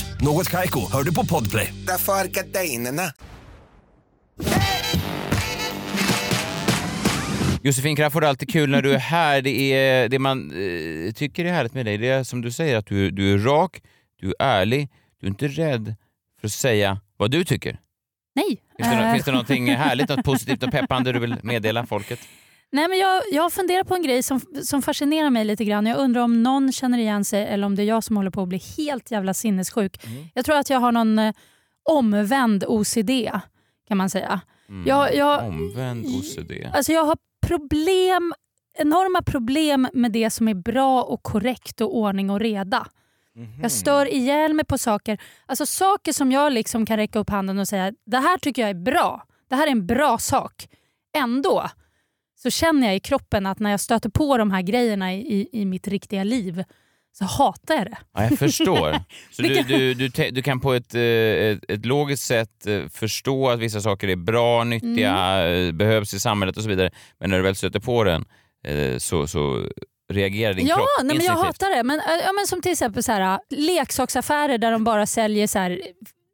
Speaker 4: Något Kaiko, hör du på Podplay.
Speaker 5: Därför är gardinerna.
Speaker 2: Josefin Crafoord, alltid kul när du är här. Det, är, det man eh, tycker är härligt med dig, det är som du säger att du, du är rak, du är ärlig, du är inte rädd för att säga vad du tycker.
Speaker 3: Nej.
Speaker 2: Finns det,
Speaker 3: Eh,
Speaker 2: no- finns det någonting härligt, något positivt och peppande du vill meddela folket?
Speaker 3: Nej, men jag, jag funderar på en grej som, som fascinerar mig lite grann. Jag undrar om någon känner igen sig eller om det är jag som håller på att bli helt jävla sinnessjuk. Jag tror att jag har någon eh, omvänd OCD kan man säga. Jag, jag,
Speaker 2: Mm. Omvänd OCD.
Speaker 3: alltså jag har problem, enorma problem med det som är bra och korrekt och ordning och reda. Jag stör ihjäl mig på saker. Alltså saker som jag liksom kan räcka upp handen och säga det här tycker jag är bra. Det här är en bra sak. Ändå så känner jag i kroppen att när jag stöter på de här grejerna i, i, i mitt riktiga liv så hatar jag det.
Speaker 2: Ja, jag förstår. Så du,
Speaker 3: Vilken-
Speaker 2: du, du, te- du kan på ett, eh, ett, ett logiskt sätt eh, förstå att vissa saker är bra, nyttiga,
Speaker 3: Mm.
Speaker 2: eh, behövs i samhället och så vidare. Men när du väl stöter på den eh, så, så reagerar din
Speaker 3: ja,
Speaker 2: kropp
Speaker 3: nej, men jag
Speaker 2: instinktivt.
Speaker 3: hatar det. Men, äh, ja, men som till exempel så ah, här, äh, leksaksaffärer där de bara säljer så här,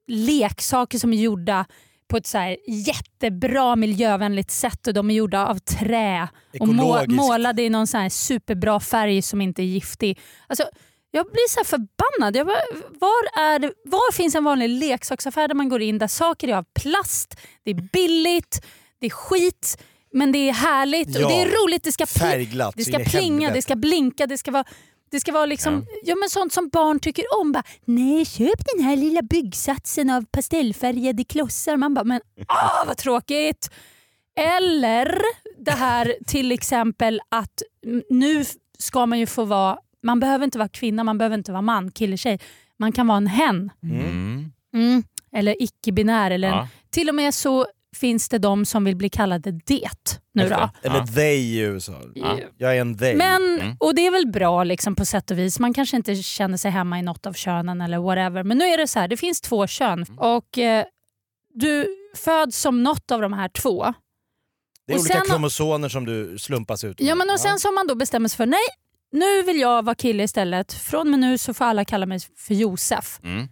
Speaker 3: leksaker som är gjorda på ett så här jättebra miljövänligt sätt och de är gjorda av trä och må-
Speaker 1: Ekologiskt.
Speaker 3: målade i någon så här superbra färg som inte är giftig. Alltså, jag blir så här förbannad. Jag bara, var, är, det- var finns en vanlig leksaksaffär där man går in där saker är av plast, det är billigt, det är skit, men det är härligt
Speaker 1: Ja.
Speaker 3: och det är roligt. Det ska, pli-
Speaker 1: Färgglatt
Speaker 3: det
Speaker 1: så
Speaker 3: ska
Speaker 1: in i
Speaker 3: plinga,
Speaker 1: helvete.
Speaker 3: det ska blinka, det ska vara det ska vara liksom, ja. men sånt som barn tycker om. Bara, Nej, köp den här lilla byggsatsen av pastellfärgade klossar. Man bara, men åh vad tråkigt! Eller det här till exempel att mm, nu f- ska man ju få vara, man behöver inte vara kvinna, man behöver inte vara man, kille, tjej. Man kan vara en hen.
Speaker 2: Mm.
Speaker 3: Mm. Eller icke-binär. Eller en,
Speaker 2: Ja.
Speaker 3: till och med så finns det de som vill bli kallade det nu då.
Speaker 1: Eller
Speaker 2: Ja.
Speaker 1: they i USA.
Speaker 3: Ja.
Speaker 1: Jag är en they.
Speaker 3: Men,
Speaker 2: Mm.
Speaker 3: och det är väl bra liksom på sätt och vis. Man kanske inte känner sig hemma i något av könen eller whatever. Men nu är det så här, det finns två kön
Speaker 2: Mm.
Speaker 3: och eh, du föds som något av de här två.
Speaker 1: det är
Speaker 3: och
Speaker 1: olika
Speaker 3: sen-
Speaker 1: kromosoner som du slumpas ut
Speaker 3: Ja, men och sen som man då bestämmer sig för, nej, nu vill jag vara kille istället. Från och med nu så får alla kalla mig för Josef.
Speaker 2: Mm.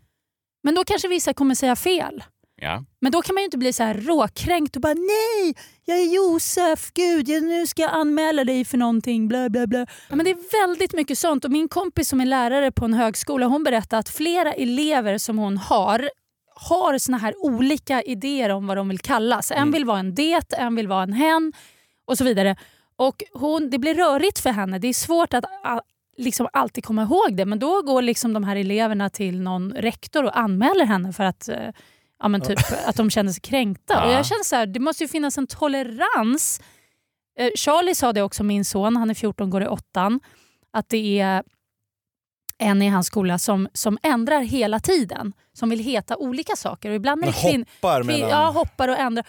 Speaker 3: Men då kanske vissa kommer säga fel.
Speaker 2: Ja.
Speaker 3: Men då kan man ju inte bli så här råkränkt och bara nej, jag är Josef, gud, jag, nu ska jag anmäla dig för någonting, bla bla bla. Ja, men det är väldigt mycket sånt och min kompis som är lärare på en högskola hon berättar att flera elever som hon har har såna här olika idéer om vad de vill kallas. En vill vara en det, en vill vara en hen och så vidare. Och hon, Det blir rörigt för henne. Det är svårt att a, liksom alltid komma ihåg det. Men då går liksom de här eleverna till någon rektor och anmäler henne för att, eh, ja, men typ, att de känner sig kränkta. Och jag känner så här, det måste ju finnas en tolerans. Eh, Charlie sa det också, min son, han är 14 går i åttan, att det är en i hans skola som, som ändrar hela tiden. Som vill heta olika saker. Och ibland är det
Speaker 1: Men
Speaker 3: kvinn-
Speaker 1: hoppar
Speaker 3: Kvin-
Speaker 1: mellan...
Speaker 3: Ja, hoppar och ändrar.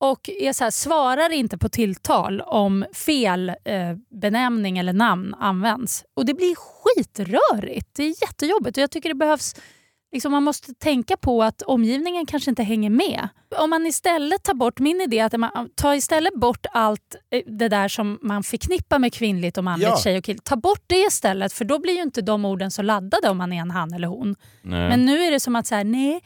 Speaker 3: Och är så här, svarar inte på tilltal om fel eh, benämning eller namn används. Och Det blir skitrörigt. Det är jättejobbigt. Och jag tycker det behövs... Liksom man måste tänka på att omgivningen kanske inte hänger med. Om man istället tar bort min idé, att man tar istället bort allt eh, det där som man förknippar med kvinnligt och manligt,
Speaker 1: Ja.
Speaker 3: tjej och kille. Ta bort det istället, för då blir ju inte de orden så laddade om man är en han eller hon.
Speaker 2: Nej.
Speaker 3: Men nu är det som att så här, nej,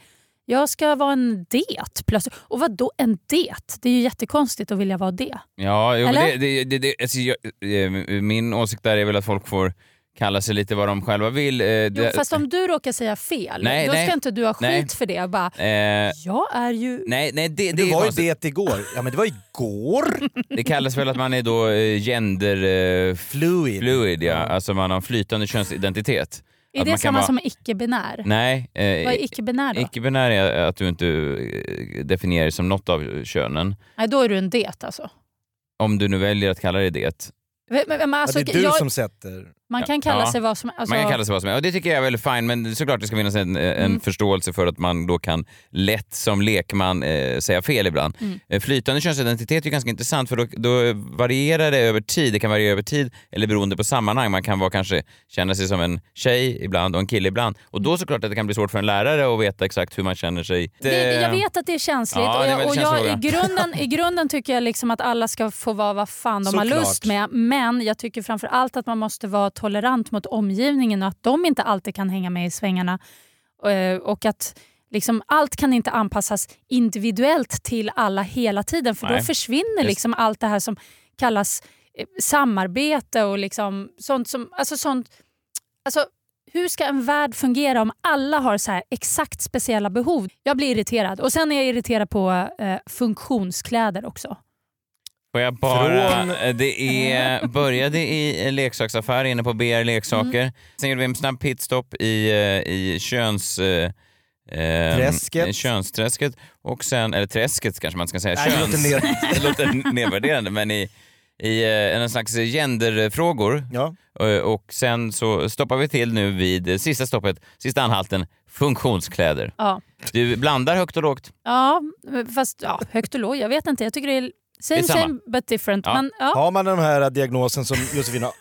Speaker 3: jag ska vara en det plötsligt. Och vad då en det? Det är ju jättekonstigt att vilja vara det.
Speaker 2: Ja, jo, men det,
Speaker 3: Eller?
Speaker 2: det, det, det, alltså, jag, eh, min åsikt där är väl att folk får kalla sig lite vad de själva vill. eh,
Speaker 3: Jo,
Speaker 2: det-
Speaker 3: fast om du råkar säga fel,
Speaker 2: Nej,
Speaker 3: då
Speaker 2: nej.
Speaker 3: ska inte du ha skit
Speaker 2: Nej.
Speaker 3: för det. Och bara,
Speaker 2: eh,
Speaker 3: jag är ju...
Speaker 2: nej, nej, det, det
Speaker 1: Du
Speaker 2: är
Speaker 1: var ju
Speaker 2: konstigt.
Speaker 1: det igår. Ja men det var
Speaker 3: <laughs>
Speaker 1: igår!
Speaker 2: Det kallas väl att man är då eh, gender... Eh,
Speaker 1: Fluid.
Speaker 2: fluid, ja. Alltså man har en flytande könsidentitet.
Speaker 3: Är
Speaker 2: att man
Speaker 3: det
Speaker 2: kan
Speaker 3: samma
Speaker 2: vara-
Speaker 3: som icke-binär?
Speaker 2: Nej. eh,
Speaker 3: Vad är icke-binär då?
Speaker 2: Icke-binär är att du inte eh, definierar dig som något av könen.
Speaker 3: Nej, då är du en det alltså.
Speaker 2: Om du nu väljer att kalla dig det.
Speaker 3: Men, men, men alltså,
Speaker 1: ja, det är du
Speaker 3: jag,
Speaker 1: som sätter.
Speaker 3: Man kan kalla
Speaker 2: Ja.
Speaker 3: sig vad som alltså,
Speaker 2: Man kan kalla sig vad som helst. Och det tycker jag är väldigt fint men såklart det ska finnas en, en
Speaker 3: Mm.
Speaker 2: förståelse för att man då kan lätt som lekman eh, säga fel ibland.
Speaker 3: Mm.
Speaker 2: Eh, Flytande könsidentitet är ganska intressant för då, då varierar det över tid. Det kan variera över tid eller beroende på sammanhang. Man kan vara, kanske känna sig som en tjej ibland och en kille ibland. Och då såklart att det kan bli svårt för en lärare att veta exakt hur man känner sig.
Speaker 3: Det, jag vet att det är känsligt
Speaker 2: eh, Ja, det är
Speaker 3: och,
Speaker 2: en
Speaker 3: jag, och
Speaker 2: väldigt
Speaker 3: jag,
Speaker 2: känslig
Speaker 3: i, grunden, i grunden tycker jag liksom att alla ska få vara vad fan de har
Speaker 1: Såklart.
Speaker 3: lust med. Men jag tycker framför allt att man måste vara tolerant mot omgivningen och att de inte alltid kan hänga med i svängarna. Eh, Och att liksom, allt kan inte anpassas individuellt till alla hela tiden för då
Speaker 2: Nej.
Speaker 3: försvinner
Speaker 2: Just.
Speaker 3: liksom allt det här som kallas eh, samarbete och liksom sånt som... Alltså sånt, alltså, hur ska en värld fungera om alla har så här exakt speciella behov? Jag blir irriterad. Och sen är jag irriterad på eh, funktionskläder också.
Speaker 2: Får jag bara...
Speaker 1: Från-
Speaker 2: eh, Det är, började i en leksaksaffär inne på BR Leksaker. Sen gjorde vi en snabb pitstop i, eh, i köns... eh, ehm,
Speaker 1: Träsket.
Speaker 2: Könsträsket. Och sen, eller träsket kanske man ska säga.
Speaker 1: Nej, det
Speaker 2: Köns.
Speaker 1: låter
Speaker 2: <laughs> det låter nedvärderande. Men i, i eh, en slags genderfrågor.
Speaker 1: Ja.
Speaker 2: Eh, Och sen så stoppar vi till nu vid eh, sista stoppet, sista anhalten, funktionskläder.
Speaker 3: Ja,
Speaker 2: Du blandar högt och lågt.
Speaker 3: ja fast ja, högt och lågt. Jag vet inte. Jag tycker det är same
Speaker 2: Det är samma.
Speaker 3: same but different.
Speaker 2: Ja.
Speaker 3: Men, ja.
Speaker 1: Har man den här diagnosen som Josefin
Speaker 3: <laughs>
Speaker 1: har,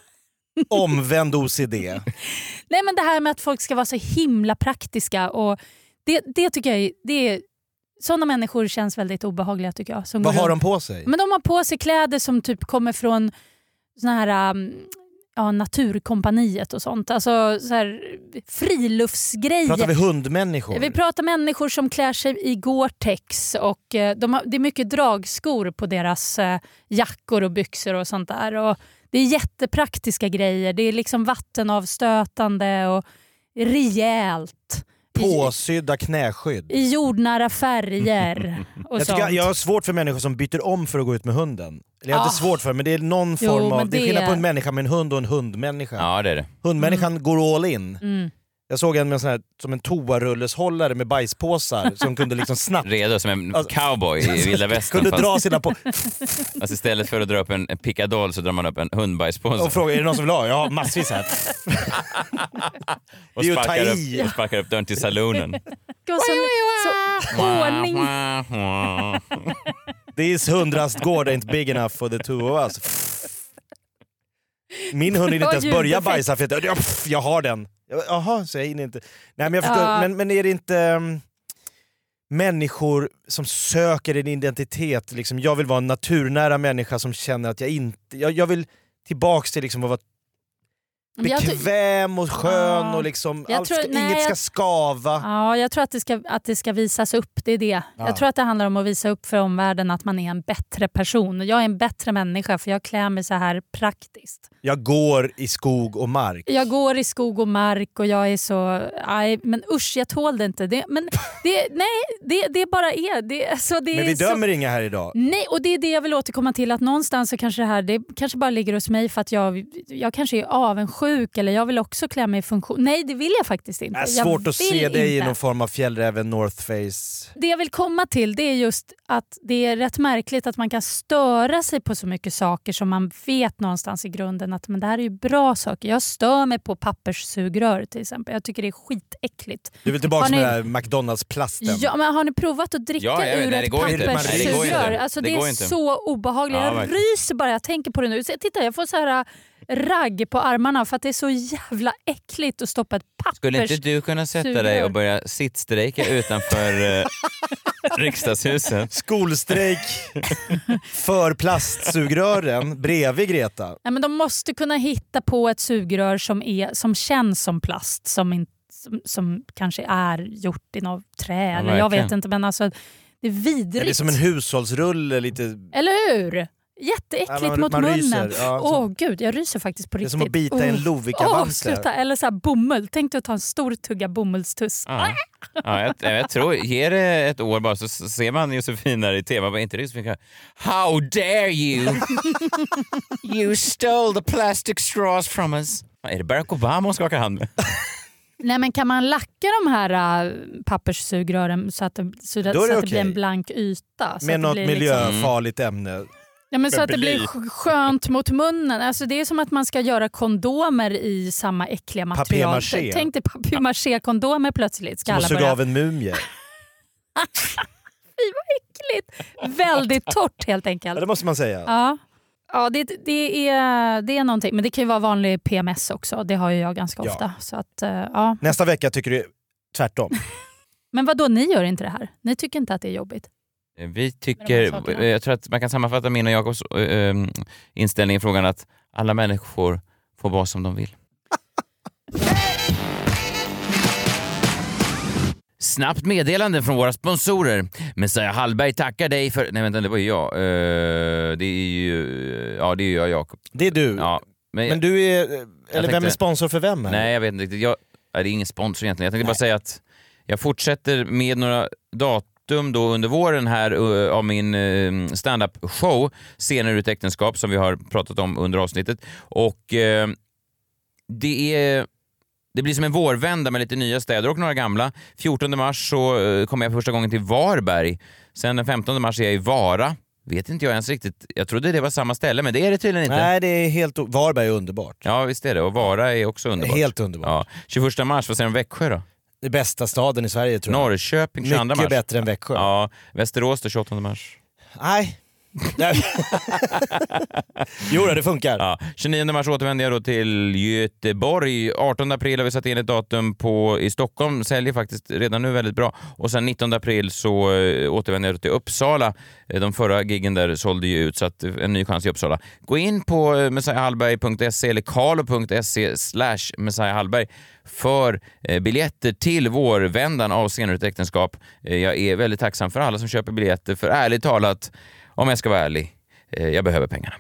Speaker 1: omvänd OCD.
Speaker 3: Nej, men det här med att folk ska vara så himla praktiska. Och det, det tycker jag är, det är, sådana människor känns väldigt obehagliga tycker jag. Som
Speaker 1: Vad
Speaker 3: går
Speaker 1: har
Speaker 3: runt-
Speaker 1: de på sig?
Speaker 3: Men de har på sig kläder som typ kommer från såna här um, ja, Naturkompaniet och sånt. Alltså så här, friluftsgrejer.
Speaker 1: Pratar vi hundmänniskor?
Speaker 3: Vi pratar människor som klär sig i Gore-Tex och eh, de har, det är mycket dragskor på deras eh, jackor och byxor och sånt där. Och det är jättepraktiska grejer. Det är liksom vattenavstötande och rejält.
Speaker 1: Påsydda knäskydd.
Speaker 3: I
Speaker 1: <laughs>
Speaker 3: jordnära färger
Speaker 1: Jag,
Speaker 3: och
Speaker 1: tycker
Speaker 3: sånt.
Speaker 1: jag, jag har svårt för människor som byter om för att gå ut med hunden. Eller jag har inte
Speaker 3: Ah.
Speaker 1: svårt för men det är någon
Speaker 3: Jo,
Speaker 1: form av...
Speaker 3: men
Speaker 1: Det är
Speaker 3: det-
Speaker 1: skillnad på en människa med en hund och en hundmänniska.
Speaker 2: Ja, det är det.
Speaker 1: Hundmänniskan går all in.
Speaker 3: Mm.
Speaker 1: Jag såg en med en sån här, som en toarullushållare med bajspåsar som kunde
Speaker 2: <laughs>
Speaker 1: liksom snabbt...
Speaker 2: Redo som en
Speaker 1: Alltså-
Speaker 2: cowboy i vilda västern. <laughs>
Speaker 1: kunde
Speaker 2: Fast,
Speaker 1: dra sina på
Speaker 2: fast Alltså istället för att dra upp en, en pickadoll så drar man upp en hundbajspåse
Speaker 1: och
Speaker 2: och,
Speaker 1: fråga är det någon som vill ha? Jag har massvis här. det är ju att ta
Speaker 2: sparkar
Speaker 1: i.
Speaker 2: upp, och sparkar upp dörren till saloonen.
Speaker 3: Det var så, så <laughs> ordning.
Speaker 1: This hundrastgård ain't big enough for the two of us. Min hund hinner inte ens
Speaker 3: Vad
Speaker 1: börja
Speaker 3: ljudeffekt.
Speaker 1: bajsa för att jag, pff, jag har den. Jag- Jaha, så jag hinner inte. Nej, men, jag förstår,
Speaker 3: Ja.
Speaker 1: men, men är det inte mm, människor som söker en identitet? Liksom, jag vill vara en naturnära människa som känner att jag inte... Jag, jag vill tillbaks till liksom att vara
Speaker 3: Men jag ty-
Speaker 1: bekväm och skön
Speaker 3: Ja.
Speaker 1: och liksom,
Speaker 3: Jag
Speaker 1: allt
Speaker 3: tror-
Speaker 1: ska,
Speaker 3: nej,
Speaker 1: inget ska
Speaker 3: jag-
Speaker 1: skava.
Speaker 3: Ja, jag tror att det ska, att det ska visas upp. Det är det.
Speaker 1: Ja.
Speaker 3: Jag tror att det handlar om att visa upp för omvärlden att man är en bättre person. Jag är en bättre människa för jag klär mig så här praktiskt.
Speaker 1: Jag går i skog och mark.
Speaker 3: Jag går i skog och mark och jag är så... Aj, men usch, jag tål det inte. Det, men <laughs> det, nej, det, det bara är. Det, alltså, det
Speaker 1: Men
Speaker 3: är
Speaker 1: vi
Speaker 3: så-
Speaker 1: dömer inga här idag.
Speaker 3: Nej, och det är det jag vill återkomma till. Att någonstans så kanske det här det kanske bara ligger hos mig för att jag, jag kanske är avundsjuk eller jag vill också klä mig i funktion. Nej, det vill jag faktiskt inte.
Speaker 1: Det är
Speaker 3: Jag
Speaker 1: Äh, svårt att
Speaker 3: vill
Speaker 1: se dig i
Speaker 3: inte.
Speaker 1: någon form av fjällräven North Face.
Speaker 3: Det jag vill komma till det är just att det är rätt märkligt att man kan störa sig på så mycket saker som man vet någonstans i grunden att men det här är ju bra saker. Jag stör mig på papperssugrör till exempel. Jag tycker det är skitäckligt.
Speaker 1: Du vill tillbaka
Speaker 3: Har ni-
Speaker 1: med den här McDonalds-plasten.
Speaker 3: Ja, men har ni provat att dricka
Speaker 2: Ja, jag vet.
Speaker 3: ur
Speaker 2: Nej, det
Speaker 3: ett
Speaker 2: går inte.
Speaker 1: Nej, det går inte.
Speaker 3: papperssugrör? Alltså,
Speaker 2: Det
Speaker 3: det,
Speaker 2: går
Speaker 3: är
Speaker 2: inte.
Speaker 3: så obehagligt.
Speaker 2: Ja,
Speaker 3: jag
Speaker 2: verkligen.
Speaker 3: ryser bara jag tänker på det nu. Så, titta, jag får så här äh, ragg på armarna för att det är så jävla äckligt att stoppa ett
Speaker 2: Skulle
Speaker 3: pappers...
Speaker 2: inte du kunna sätta
Speaker 3: Sugrör.
Speaker 2: dig och börja sittstrejka
Speaker 3: <laughs>
Speaker 2: utanför eh, riksdagshuset?
Speaker 1: Skolstrejk
Speaker 3: <laughs>
Speaker 1: för plastsugrören bredvid Greta.
Speaker 3: Nej, men de måste kunna hitta på ett sugrör som, är, som känns som plast, som, in, som, som kanske är gjort i något trä. eller jag
Speaker 2: verkligen.
Speaker 3: vet inte, men alltså, det är
Speaker 1: Ja,
Speaker 3: vidrigt.
Speaker 1: Det är som en hushållsrulle, lite...
Speaker 3: Eller hur? Jätteäckligt
Speaker 1: Ja, man-
Speaker 3: mot
Speaker 1: man
Speaker 3: munnen.
Speaker 1: ryser. Ja,
Speaker 3: Åh
Speaker 1: så-
Speaker 3: gud, jag ryser faktiskt på
Speaker 1: Det är
Speaker 3: riktigt.
Speaker 1: som att bita i en
Speaker 3: Uff. Åh,
Speaker 1: lovikkavanse.
Speaker 3: sluta. Eller så här bomull. Tänk dig att ta en stor tugga bomullstuss.
Speaker 2: Ja. Ja, jag, jag tror, ge det ett år bara så s- ser man Josefin där i tv. Man Bara, inte det Josefin Crafoord? How dare
Speaker 3: <laughs>
Speaker 2: you! you stole the plastic straws from us. Ja, Är det Barack Obama hon skakar hand med?
Speaker 3: Nej, men kan man lacka de här äh, papperssugrören så att det, så det,
Speaker 1: Då är
Speaker 3: så
Speaker 1: det
Speaker 3: att det
Speaker 1: okej.
Speaker 3: blir en blank yta? Så
Speaker 1: Med
Speaker 3: att det
Speaker 1: något
Speaker 3: blir liksom-
Speaker 1: miljöfarligt ämne.
Speaker 3: Ja, men så att det
Speaker 2: Möbeli.
Speaker 3: blir sk- skönt mot munnen. Alltså, det är som att man ska göra kondomer i samma äckliga material.
Speaker 1: Papier-mâché.
Speaker 3: Tänk dig papier-maché-kondomer plötsligt. Ska
Speaker 1: Som att
Speaker 3: alla
Speaker 1: suga
Speaker 3: börja...
Speaker 1: av en mumie.
Speaker 3: Äckligt. Väldigt torrt helt
Speaker 1: Ja,
Speaker 3: enkelt.
Speaker 1: det måste man säga.
Speaker 3: Ja, ja det, det, är, det är någonting. Men det kan ju vara vanlig PMS också. Det har ju jag ganska
Speaker 1: Ja.
Speaker 3: ofta. Så att, eh, ja.
Speaker 1: Nästa vecka tycker du tvärtom.
Speaker 3: Men vad då ni gör inte det här? Ni tycker inte att det är jobbigt?
Speaker 2: Eh, Vi
Speaker 3: Med de
Speaker 2: tycker, eh,
Speaker 3: här sakerna.
Speaker 2: jag tror att man kan sammanfatta min och Jakobs eh, eh, inställning i frågan att alla människor får vara som de vill. <laughs> Snabbt meddelande från våra sponsorer. Messiah Hallberg tackar dig för... Nej vänta, det var ju jag. Eh, det är ju... Ja, det är ju jag Jakob.
Speaker 1: Det är du.
Speaker 2: Ja, men
Speaker 1: Men du är... eh, Eller vem är
Speaker 2: tänkte-
Speaker 1: sponsor för vem? Här?
Speaker 2: Nej, jag vet inte riktigt. Jag, nej, det är ingen sponsor egentligen. Jag tänkte bara säga att jag fortsätter med några datum då under våren här eh, av min eh, standup-show Scener ur ett äktenskap som vi har pratat om under avsnittet. Och eh, det är... Det blir som en vårvända med lite nya städer och några gamla. 14 mars så eh, kommer jag första gången till Varberg. Sen den 15 mars är jag i Vara. Vet inte jag ens riktigt. Jag trodde det var samma ställe, men det är det tydligen inte.
Speaker 1: Nej, det är helt... o- Varberg är underbart.
Speaker 2: Ja, visst är det. Och Vara är också underbart.
Speaker 1: Helt underbart.
Speaker 2: Ja. 21 mars, vad säger de om Växjö då?
Speaker 1: Det bästa staden i Sverige tror jag.
Speaker 2: Norrköping 22
Speaker 1: Mycket
Speaker 2: mars.
Speaker 1: bättre än Växjö.
Speaker 2: Ja, Västerås då 28 mars.
Speaker 1: Nej,
Speaker 2: <laughs>
Speaker 1: Nej. jo då, det funkar.
Speaker 2: Ja, 29 mars återvänder jag då till Göteborg. 18 april har vi satt in ett datum på, i Stockholm. Säljer faktiskt redan nu väldigt bra. Och sen 19 april så eh, återvänder jag då till Uppsala. Eh, De förra giggen där sålde ju ut, så att eh, en ny chans i Uppsala. Gå in på eh, messiahallberg.se eller karlo.se slash messiahallberg för eh, biljetter till vårvändan av Scener ur ett äktenskap. Eh, Jag är väldigt tacksam för alla som köper biljetter, för ärligt talat, om jag ska vara ärlig, eh, jag behöver pengarna.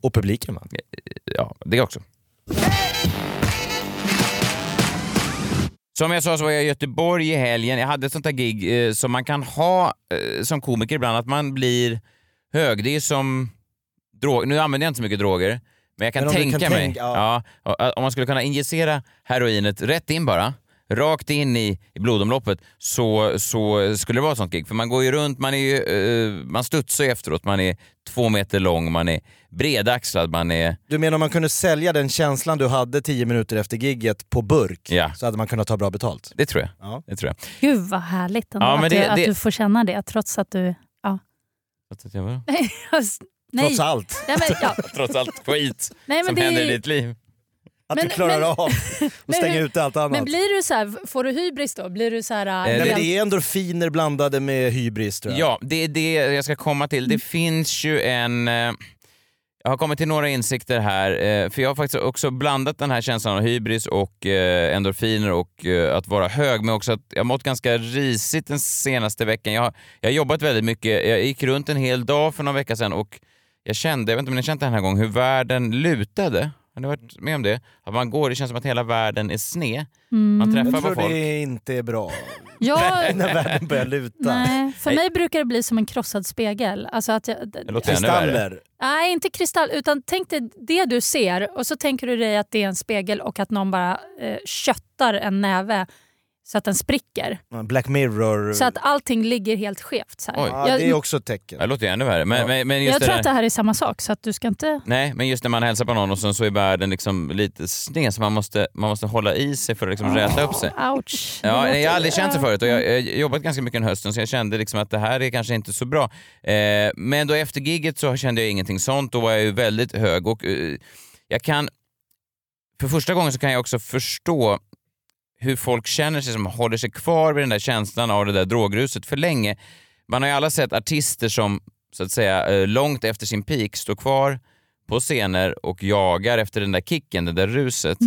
Speaker 1: Och publiken va?
Speaker 2: Ja, det också. Som jag sa så var jag i Göteborg i helgen. Jag hade ett sånt där gig eh, som man kan ha eh, som komiker ibland, att man blir hög. Det är som drog. Nu använder jag inte så mycket droger, men jag kan
Speaker 1: Men om du
Speaker 2: tänka
Speaker 1: kan
Speaker 2: mig.
Speaker 1: tänka-
Speaker 2: ja.
Speaker 1: ja.
Speaker 2: och- eh, om man skulle kunna injicera heroinet rätt in bara, rakt in i, i blodomloppet, så, så skulle det vara ett sånt gig. För man går ju runt, man, är ju, eh, man studsar ju efteråt, man är två meter lång, man är bredaxlad, man är...
Speaker 1: Du menar om man kunde sälja den känslan du hade tio minuter efter gigget på burk
Speaker 2: Ja.
Speaker 1: så hade man kunnat ta bra betalt?
Speaker 2: Det tror jag.
Speaker 1: Ja.
Speaker 2: Det tror jag.
Speaker 3: Gud vad härligt ändå
Speaker 2: Ja, men
Speaker 3: att,
Speaker 2: det-
Speaker 3: du, att
Speaker 2: det-
Speaker 3: du får känna det trots att du... <laughs> Ja.
Speaker 2: Trots att jag var...
Speaker 3: Nej.
Speaker 1: Trots allt.
Speaker 3: Nej, men, ja.
Speaker 2: Trots allt <laughs> skit
Speaker 3: Nej, men
Speaker 2: som
Speaker 3: det
Speaker 2: händer i
Speaker 3: är-
Speaker 2: ditt liv.
Speaker 1: Att
Speaker 3: Men-
Speaker 1: du klarar
Speaker 3: men-
Speaker 1: av att stänga
Speaker 3: hur-
Speaker 1: ut allt annat.
Speaker 3: Men blir du så här, får du hybris då? Blir du så här... äh,
Speaker 2: Eh,
Speaker 1: Nej,
Speaker 3: helt-
Speaker 1: men det är endorfiner blandade med hybris tror jag.
Speaker 2: Ja, det är det jag ska komma till.
Speaker 1: Mm.
Speaker 2: Det finns ju en... eh, Jag har kommit till några insikter här, eh, för jag har faktiskt också blandat den här känslan av hybris och eh, endorfiner och eh, att vara hög, men också att jag har mått ganska risigt den senaste veckan. Jag har, jag har jobbat väldigt mycket. Jag gick runt en hel dag för någon vecka sedan och jag kände, jag vet inte om ni har känt det den här gången, hur världen lutade. Har ni varit med om det? Att man går, det känns som att hela världen är sned. Man träffar
Speaker 1: Mm. Jag
Speaker 2: på
Speaker 1: tror
Speaker 2: folk.
Speaker 1: det inte är bra <laughs>
Speaker 3: Jag,
Speaker 1: när världen börjar luta.
Speaker 3: nej, för mig brukar det bli som en krossad spegel. Alltså att jag,
Speaker 2: Det låter ännu värre.
Speaker 1: Kristaller.
Speaker 3: nej, inte kristall, utan tänk dig det du ser och så tänker du dig att det är en spegel och att någon bara eh, köttar en näve så att den spricker.
Speaker 1: Black Mirror.
Speaker 3: Så att allting ligger helt skevt. Så här.
Speaker 2: Oj.
Speaker 1: ja, det är
Speaker 3: jag
Speaker 1: också ett tecken.
Speaker 2: Ja, Det låter ju ännu värre. Men,
Speaker 1: Ja.
Speaker 2: men, men just
Speaker 3: jag
Speaker 2: det
Speaker 3: tror
Speaker 2: där-
Speaker 3: att det här är samma sak, så att du ska inte...
Speaker 2: Nej, men just när man hälsar på någon och sen så är världen liksom lite sned så man måste, man måste hålla i sig för att liksom räta upp sig.
Speaker 3: Ouch. Det
Speaker 2: Ja,
Speaker 3: låter-
Speaker 2: jag har aldrig känt så förut och jag jag har jobbat ganska mycket den hösten så jag kände liksom att det här är kanske inte så bra. Eh, men då efter gigget så kände jag ingenting sånt, då var jag ju väldigt hög och eh, jag kan... För första gången så kan jag också förstå hur folk känner sig som håller sig kvar vid den där känslan av det där drogruset för länge. Man har ju alla sett artister som så att säga eh, långt efter sin peak står kvar på scener och jagar efter den där kicken, det där ruset.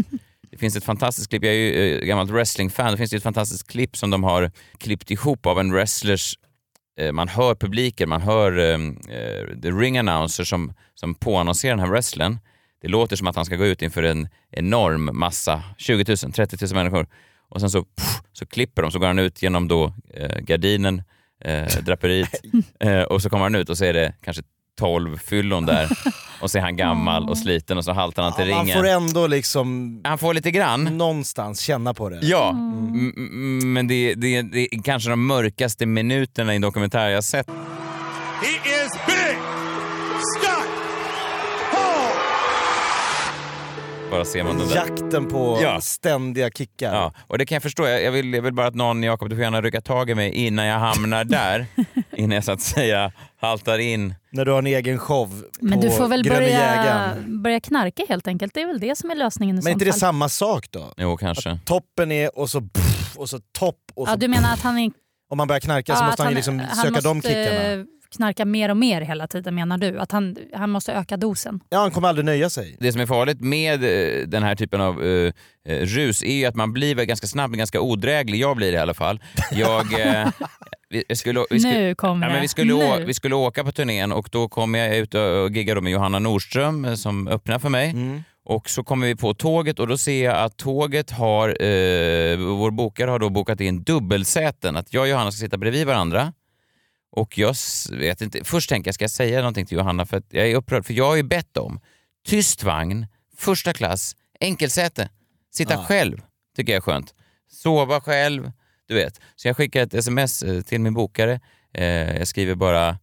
Speaker 2: Det finns ett fantastiskt klipp, jag är ju eh, gammalt wrestlingfan, det finns ju ett fantastiskt klipp som de har klippt ihop av en wrestlers eh, man hör publiken, man hör eh, eh, the ring announcer som, som påannonserar den här wrestlern. Det låter som att han ska gå ut inför en enorm massa, 20 000, 30 000 människor. Och sen så, pff, så klipper de, så går han ut genom då, eh, gardinen, eh,
Speaker 1: <laughs>
Speaker 2: draperiet eh, och så kommer han ut och så är det kanske 12 fyllon där och så är han gammal och sliten och så haltar han till
Speaker 1: Ja, man
Speaker 2: ringen.
Speaker 1: får ändå liksom
Speaker 2: Han får lite grann.
Speaker 1: någonstans känna på det.
Speaker 2: Ja, m- m- men det, det, det är kanske de mörkaste minuterna i en dokumentär jag sett. Bara ser man den där.
Speaker 1: Jakten på
Speaker 2: Ja.
Speaker 1: ständiga kickar.
Speaker 2: Ja, och det kan jag förstå. Jag jag vill, jag vill bara att någon, Jakob, du får gärna rycka tag i mig innan jag hamnar där. innan jag så att säga haltar in.
Speaker 1: När du har en egen show
Speaker 3: Men
Speaker 1: på
Speaker 3: du får väl
Speaker 1: Gröna
Speaker 3: börja,
Speaker 1: Jägaren.
Speaker 3: börja knarka helt enkelt. Det är väl det som är lösningen i
Speaker 1: Men är
Speaker 3: sånt
Speaker 1: inte det
Speaker 3: fall.
Speaker 1: samma sak då?
Speaker 2: Jo, kanske.
Speaker 1: Toppen är och så pff, och så topp och så...
Speaker 3: Ja, du menar att han är
Speaker 1: Om man börjar knarka så
Speaker 3: Ja,
Speaker 1: måste
Speaker 3: att
Speaker 1: han ju liksom
Speaker 3: han
Speaker 1: söka
Speaker 3: måste,
Speaker 1: de kickarna.
Speaker 3: eh, knarka mer och mer hela tiden menar du? Att han, han måste öka dosen?
Speaker 1: Ja, han kommer aldrig nöja sig.
Speaker 2: Det som är farligt med eh, den här typen av eh, eh, rus är ju att man blir väl ganska snabb, ganska odräglig. Jag blir det i alla fall. Jag, eh, <laughs> vi, vi skulle, vi skulle,
Speaker 3: nu kommer
Speaker 2: Ja,
Speaker 3: det.
Speaker 2: men vi, skulle å,
Speaker 3: nu.
Speaker 2: vi skulle åka på turnén och då kom jag ut och giggade med Johanna Nordström eh, som öppnar för mig. Och så kommer vi på tåget och då ser jag att tåget har, eh, vår bokare har då bokat in dubbelsäten. Att jag och Johanna ska sitta bredvid varandra. Och jag s- vet inte, först tänker jag, ska jag säga någonting till Johanna? För att jag är upprörd, för jag har ju bett om tyst vagn, första klass, enkelsäte. Sitta själv, tycker jag är skönt. Sova själv, du vet. Så jag skickar ett sms eh, till min bokare. Eh, Jag skriver bara,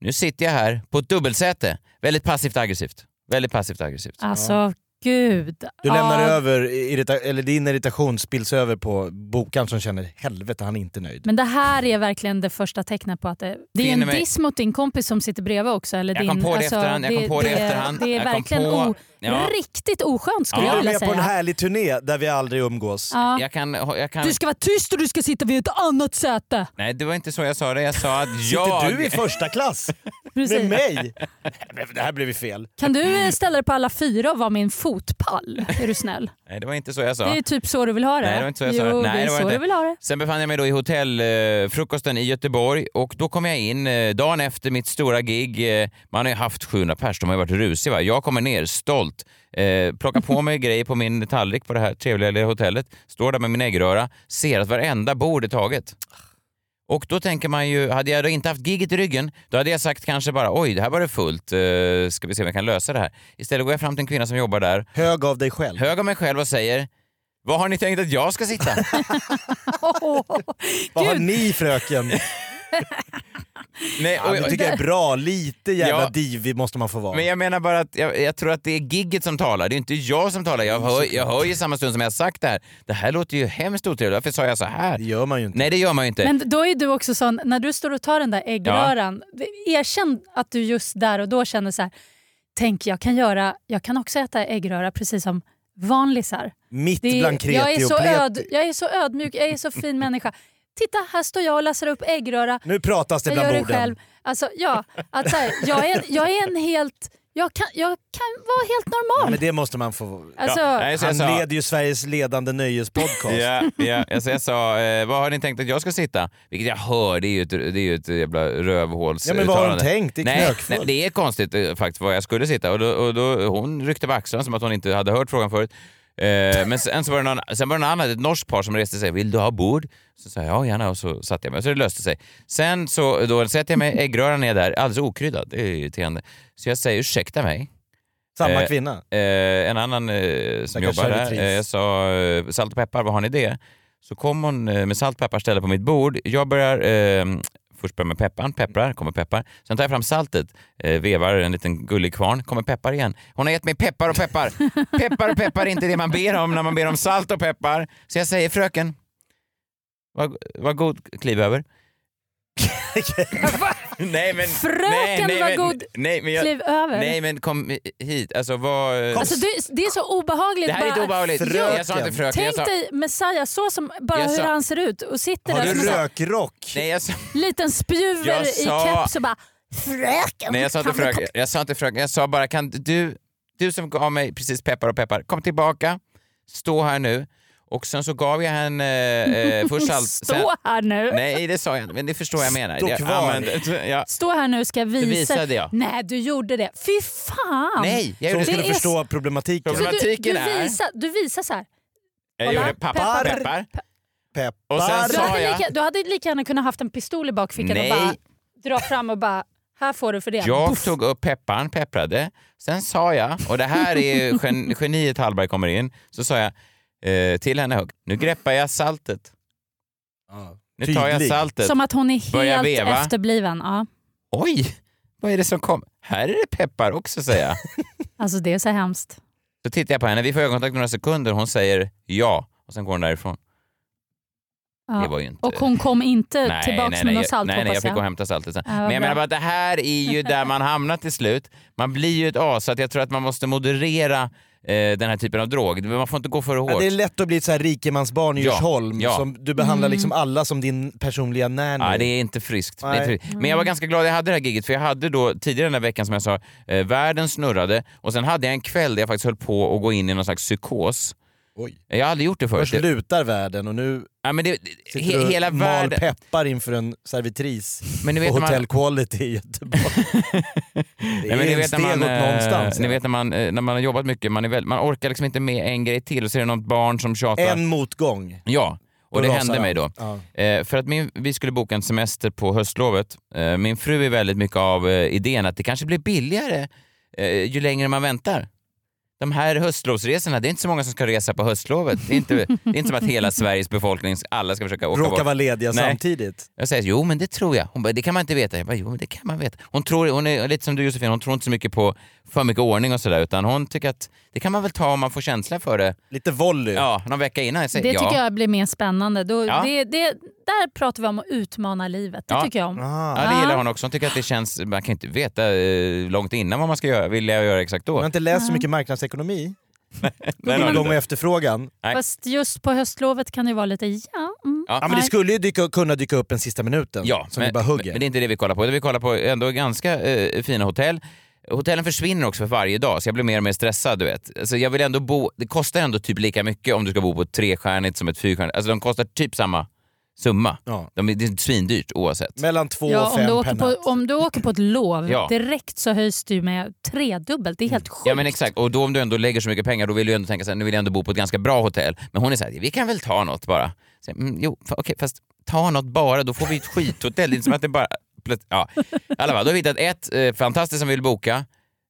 Speaker 2: nu sitter jag här på ett dubbelsäte. Väldigt passivt aggressivt. Väldigt passivt aggressivt.
Speaker 3: Alltså gud.
Speaker 1: Du lämnar
Speaker 3: Ja,
Speaker 1: över, irrita- eller din irritation spills över på bokaren som känner helvete han är inte nöjd.
Speaker 3: Men det här är verkligen det första tecknet på att det, det är en
Speaker 2: Finner mig-
Speaker 3: diss mot din kompis som sitter bredvid också. Eller
Speaker 2: Jag
Speaker 3: din, alltså,
Speaker 2: kom på det efterhand, jag kom på det efterhand,
Speaker 3: Det är
Speaker 2: jag kom
Speaker 3: verkligen
Speaker 2: på-
Speaker 3: o,
Speaker 2: Ja.
Speaker 3: riktigt oskönt skulle
Speaker 2: Ja.
Speaker 3: jag
Speaker 1: Vi är
Speaker 3: vilja
Speaker 1: med på en
Speaker 3: säga.
Speaker 1: härlig turné där vi aldrig umgås.
Speaker 3: Ja.
Speaker 2: Jag kan, jag kan...
Speaker 3: Du ska vara tyst och du ska sitta vid ett annat säte.
Speaker 2: Nej, det var inte så jag sa det. Jag sa att jag...
Speaker 1: Sitter du i första klass? Med
Speaker 3: <laughs> Precis.
Speaker 1: mig? Det här blev ju fel.
Speaker 3: Kan du eh, ställa dig på alla fyra och vara min fotpall? Är du snäll?
Speaker 2: Nej, det var inte så jag sa.
Speaker 3: Det är typ så du vill ha det.
Speaker 2: Nej, det var inte så jag sa. Nej,
Speaker 3: Jo, det
Speaker 2: det
Speaker 3: är
Speaker 2: var
Speaker 3: så
Speaker 2: inte.
Speaker 3: du vill
Speaker 2: <laughs>
Speaker 3: ha det.
Speaker 2: Sen befann jag mig då i hotellfrukosten i Göteborg och då kom jag in eh, dagen efter mitt stora gig. eh, Man har ju haft 700 pers, de har ju varit rusiga. Va? Jag kommer ner stolt, eh, plockar på mig <laughs> grejer på min tallrik på det här trevliga lilla hotellet, står där med min äggröra, ser att varenda bord är taget. Och då tänker man ju, hade jag då inte haft giget i ryggen, då hade jag sagt kanske bara oj, det här var det fullt, eh, ska vi se om jag kan lösa det här. Istället går jag fram till en kvinna som jobbar där,
Speaker 1: Hög av dig själv.
Speaker 2: hög av mig själv och säger, vad har ni tänkt att jag ska sitta?
Speaker 3: Åh,
Speaker 1: Vad har
Speaker 3: Gud.
Speaker 1: ni fröken?
Speaker 2: Nej,
Speaker 1: Ja,
Speaker 2: och-
Speaker 1: det tycker jag är bra. Lite jävla
Speaker 2: Ja.
Speaker 1: divig måste man få vara.
Speaker 2: Men jag menar bara att jag, jag tror att det är gigget som talar, det är inte jag som talar. Jag hör, jag hör ju samma stund som jag har sagt det här. Det här låter ju hemskt otrevligt, varför sa jag så här?
Speaker 1: Det gör man ju inte.
Speaker 2: Nej det gör man ju inte.
Speaker 3: Men då är du också sån, när du står och tar den där äggröran, erkänn att du just där och då känner så här, tänk jag kan göra, jag kan också äta äggröra precis som vanlisar.
Speaker 1: Mitt
Speaker 3: Det är-
Speaker 1: bland
Speaker 3: jag, är
Speaker 1: kreti och
Speaker 3: så öd,
Speaker 1: pleti.
Speaker 3: jag är så ödmjuk, jag är så fin människa. Titta, här står jag och läser upp äggröra.
Speaker 1: Nu pratas det
Speaker 3: Jag
Speaker 1: bland
Speaker 3: gör det
Speaker 1: borden.
Speaker 3: själv. Alltså, ja, att så här, jag, är, jag är en helt... Jag kan, jag kan vara helt
Speaker 1: Ja,
Speaker 3: normal.
Speaker 1: men det måste man få.
Speaker 3: alltså,
Speaker 2: Nej, så jag
Speaker 1: Han
Speaker 2: sa,
Speaker 1: leder ju Sveriges ledande nöjespodcast.
Speaker 2: Ja, ja, alltså jag sa, eh, vad har ni tänkt att jag ska sitta? Vilket jag hör, det är ju ett, det är ju ett jävla rövhåls...
Speaker 1: Ja, men vad har de
Speaker 2: uttalande.
Speaker 1: tänkt? Det är
Speaker 2: nej,
Speaker 1: knökfullt.
Speaker 2: nej, det är konstigt eh, faktiskt var jag skulle sitta. Och då, och då, hon ryckte på axlarna som att hon inte hade hört frågan förut. Eh, men sen, så var det någon, sen var det någon annan, ett norskt par som reste sig. Vill du ha bord? Så sa jag ja gärna och så satte jag mig. Så det löste sig. Sen så då sätter jag mig, äggröran är där, alldeles okryddad. Det är ju irriterande. Så jag säger ursäkta mig.
Speaker 1: Samma
Speaker 2: Eh,
Speaker 1: kvinna.
Speaker 2: Eh, en annan eh, som
Speaker 1: Stackars
Speaker 2: jobbar där,
Speaker 1: servitris.
Speaker 2: eh, jag sa eh, salt och peppar, vad har ni det? Så kom hon eh, med salt och peppar ställer på mitt bord. Jag börjar eh, först börjar med pepparn, pepprar, kommer peppar. Sen tar jag fram saltet, eh, vevar en liten gullig kvarn, kommer peppar igen. Hon har gett mig peppar och
Speaker 3: <laughs>
Speaker 2: peppar. peppar och peppar är inte det man ber om när man ber om salt och peppar. Så jag säger fröken, vad, vad god, kliv över.
Speaker 3: <laughs>
Speaker 2: <laughs> nej, men,
Speaker 3: Fröken, vad
Speaker 2: men-
Speaker 3: god,
Speaker 2: nej, men jag,
Speaker 3: Kliv över.
Speaker 2: Nej men kom hit, alltså vad...
Speaker 3: alltså, det, det är så obehagligt.
Speaker 2: det här är inte
Speaker 3: bara-
Speaker 2: obehagligt.
Speaker 1: Fröken.
Speaker 2: Jag sa inte fröken, jag
Speaker 3: Tänk
Speaker 2: sa...
Speaker 3: dig Messiah så som, bara
Speaker 2: Jag
Speaker 3: hur
Speaker 2: sa-
Speaker 3: han ser ut och sitter
Speaker 1: Har
Speaker 3: där som
Speaker 1: du
Speaker 3: en sån här
Speaker 1: rökrock?
Speaker 2: Nej jag sa,
Speaker 3: liten spjuver
Speaker 2: Jag sa-
Speaker 3: i keps och bara fröken.
Speaker 2: nej, jag sa inte
Speaker 3: kan vi
Speaker 2: fröken, jag sa inte fröken, jag sa bara kan du, du som gav mig precis peppar och peppar, kom tillbaka, stå här nu. Och sen så gav jag henne
Speaker 3: <laughs>
Speaker 2: eh, först
Speaker 3: komma-
Speaker 2: salt... sen-
Speaker 3: Stå här nu.
Speaker 2: Nej det sa jag inte, men det förstår jag menar.
Speaker 1: Stå
Speaker 2: Jag
Speaker 1: kvar.
Speaker 2: använde- <laughs> ja.
Speaker 3: Stå här nu ska jag visa.
Speaker 2: visade jag.
Speaker 3: Nej, du gjorde det. Fy fan!
Speaker 2: Nej, jag
Speaker 1: Så
Speaker 2: gjorde,
Speaker 1: hon
Speaker 3: Det
Speaker 1: skulle
Speaker 3: är-
Speaker 1: förstå problematiken.
Speaker 3: Så du, du,
Speaker 2: Problematiken är-
Speaker 3: visar, du visar så här.
Speaker 2: jag gjorde
Speaker 3: Kolla,
Speaker 2: pappa
Speaker 3: peppar.
Speaker 2: peppar.
Speaker 1: Peppar.
Speaker 2: Och sen
Speaker 3: Du
Speaker 2: sa
Speaker 3: hade,
Speaker 2: jag-
Speaker 3: lika, du hade lika gärna kunnat haft en pistol i bakfickan
Speaker 2: Nej.
Speaker 3: och bara dra fram och bara här får du för det.
Speaker 2: Jag
Speaker 3: Puff.
Speaker 2: tog upp pepparn, pepprade. Sen sa jag, och det här är
Speaker 3: <laughs>
Speaker 2: ju gen, geniet Hallberg kommer in, så sa jag eh, till henne högt, nu greppar jag saltet. Nu tar jag
Speaker 1: Tydlig.
Speaker 2: saltet.
Speaker 3: Som att hon är
Speaker 2: Börja
Speaker 3: helt
Speaker 2: veva.
Speaker 3: efterbliven. Ja.
Speaker 2: Oj, vad är det som kom? Här är det peppar också säger
Speaker 3: <laughs>
Speaker 2: jag.
Speaker 3: Alltså det är så hemskt.
Speaker 2: Så tittar jag på henne, vi får ögonkontakt några sekunder, hon säger ja och sen går hon därifrån.
Speaker 3: Ja.
Speaker 2: Det var ju inte...
Speaker 3: Och hon kom inte tillbaka Eh, med något
Speaker 2: jag-
Speaker 3: salt
Speaker 2: nej, nej, jag
Speaker 3: hoppas
Speaker 2: fick gå
Speaker 3: jag.
Speaker 2: och hämta saltet sen.
Speaker 3: Ja, vad
Speaker 2: Men jag
Speaker 3: bra.
Speaker 2: menar bara att det här är ju där man hamnar till slut. Man blir ju ett as, så att jag tror att man måste moderera eh, den här typen av drog. Man får inte gå för hårt.
Speaker 1: Ja, det är lätt att bli ett så här rikemansbarn i
Speaker 2: Ja,
Speaker 1: Djursholm.
Speaker 2: ja.
Speaker 1: Som du behandlar liksom
Speaker 2: Mm.
Speaker 1: alla som din personliga nanny.
Speaker 2: Ja, det är inte friskt. Det är inte
Speaker 1: Nej.
Speaker 2: friskt. Men jag var ganska glad jag hade det här giget för jag hade då tidigare den här veckan som jag sa, eh, världen snurrade och sen hade jag en kväll där jag faktiskt höll på att gå in i någon slags psykos.
Speaker 1: Oj.
Speaker 2: Jag har aldrig gjort det förut.
Speaker 1: Först lutar världen och nu
Speaker 2: ja, men det,
Speaker 1: sitter
Speaker 2: he,
Speaker 1: du och
Speaker 2: hela
Speaker 1: mal
Speaker 2: världen.
Speaker 1: peppar inför en servitris
Speaker 2: Men ni vet
Speaker 1: på
Speaker 2: när man-
Speaker 1: Hotel Quality i
Speaker 2: <laughs>
Speaker 1: Göteborg. det är
Speaker 2: Nej, men ni
Speaker 1: en
Speaker 2: vet när
Speaker 1: sten
Speaker 2: man,
Speaker 1: åt
Speaker 2: eh,
Speaker 1: någonstans.
Speaker 2: Ni vet när man, eh, när man har jobbat mycket, man, är väl, man orkar liksom inte med en grej till och så är det något barn som tjatar.
Speaker 1: En motgång.
Speaker 2: Ja, och det
Speaker 1: rasar
Speaker 2: hände
Speaker 1: allt.
Speaker 2: mig då.
Speaker 1: Ja.
Speaker 2: Eh, för att min, vi skulle boka en semester på höstlovet. Eh, min fru är väldigt mycket av eh, idén att det kanske blir billigare eh, ju längre man väntar. De här höstlovsresorna, det är inte så många som ska resa på höstlovet. Det är inte, det är inte som att hela Sveriges befolkning, alla ska försöka åka
Speaker 1: Råkar
Speaker 2: bort.
Speaker 1: vara lediga
Speaker 2: Nej.
Speaker 1: samtidigt.
Speaker 2: Jag säger jo men det tror jag. Hon bara, det kan man inte veta. Jag bara, jo men det kan man veta. Hon tror, hon är lite som du Josefin, hon tror inte så mycket på, för mycket ordning och sådär utan hon tycker att det kan man väl ta om man får känsla för det.
Speaker 1: Lite volley.
Speaker 2: Ja, någon vecka innan. Jag
Speaker 3: Det
Speaker 2: säger,
Speaker 3: tycker
Speaker 2: ja.
Speaker 3: jag blir mer spännande. Då,
Speaker 2: Ja.
Speaker 3: det, det, där pratar vi om att utmana livet. Det
Speaker 2: Ja.
Speaker 3: tycker jag om.
Speaker 2: Ja, det gillar hon också. Hon tycker att det känns, man kan ju inte veta eh, långt innan vad man ska göra, vill jag göra exakt då.
Speaker 1: Man har inte läst så mycket marknadsekonomi.
Speaker 2: Nej, nej,
Speaker 1: Tillgång och
Speaker 2: nej.
Speaker 1: efterfrågan.
Speaker 2: Nej.
Speaker 3: Fast just på höstlovet kan det ju vara lite ja, mm,
Speaker 2: Ja,
Speaker 1: Ja, men det
Speaker 3: nej.
Speaker 1: skulle ju dyka, kunna dyka upp en sista minuten
Speaker 2: Ja,
Speaker 1: som
Speaker 2: men,
Speaker 1: vi bara hugger.
Speaker 2: men det är inte det vi kollar på. Det vi kollar på är ändå ganska eh, fina hotell. Hotellen försvinner också för varje dag så jag blir mer och mer stressad. Du vet. Alltså, jag vill ändå bo, det kostar ändå typ lika mycket om du ska bo på ett trestjärnigt som ett fyrstjärnigt. Alltså, de kostar typ samma summa.
Speaker 1: Ja.
Speaker 2: De, är- det är svindyrt oavsett.
Speaker 1: Mellan två
Speaker 3: Ja,
Speaker 1: och
Speaker 3: om, du
Speaker 1: fem
Speaker 3: åker
Speaker 1: per natt.
Speaker 3: på, om du åker på ett lov
Speaker 2: Ja.
Speaker 3: direkt så höjs du med tredubbelt. Det är helt sjukt.
Speaker 2: Ja men exakt, och då om du ändå lägger så mycket pengar då vill du ändå tänka så här, nu vill jag ändå bo på ett ganska bra hotell. Men hon är så här, vi kan väl ta något bara. Så, jag, mm, jo, fa- okej, fast ta något bara, då får vi ett skithotell. Det är inte som att det bara... plöts- Ja. I alla fall, då har vi hittat ett eh, fantastiskt som vi vill boka.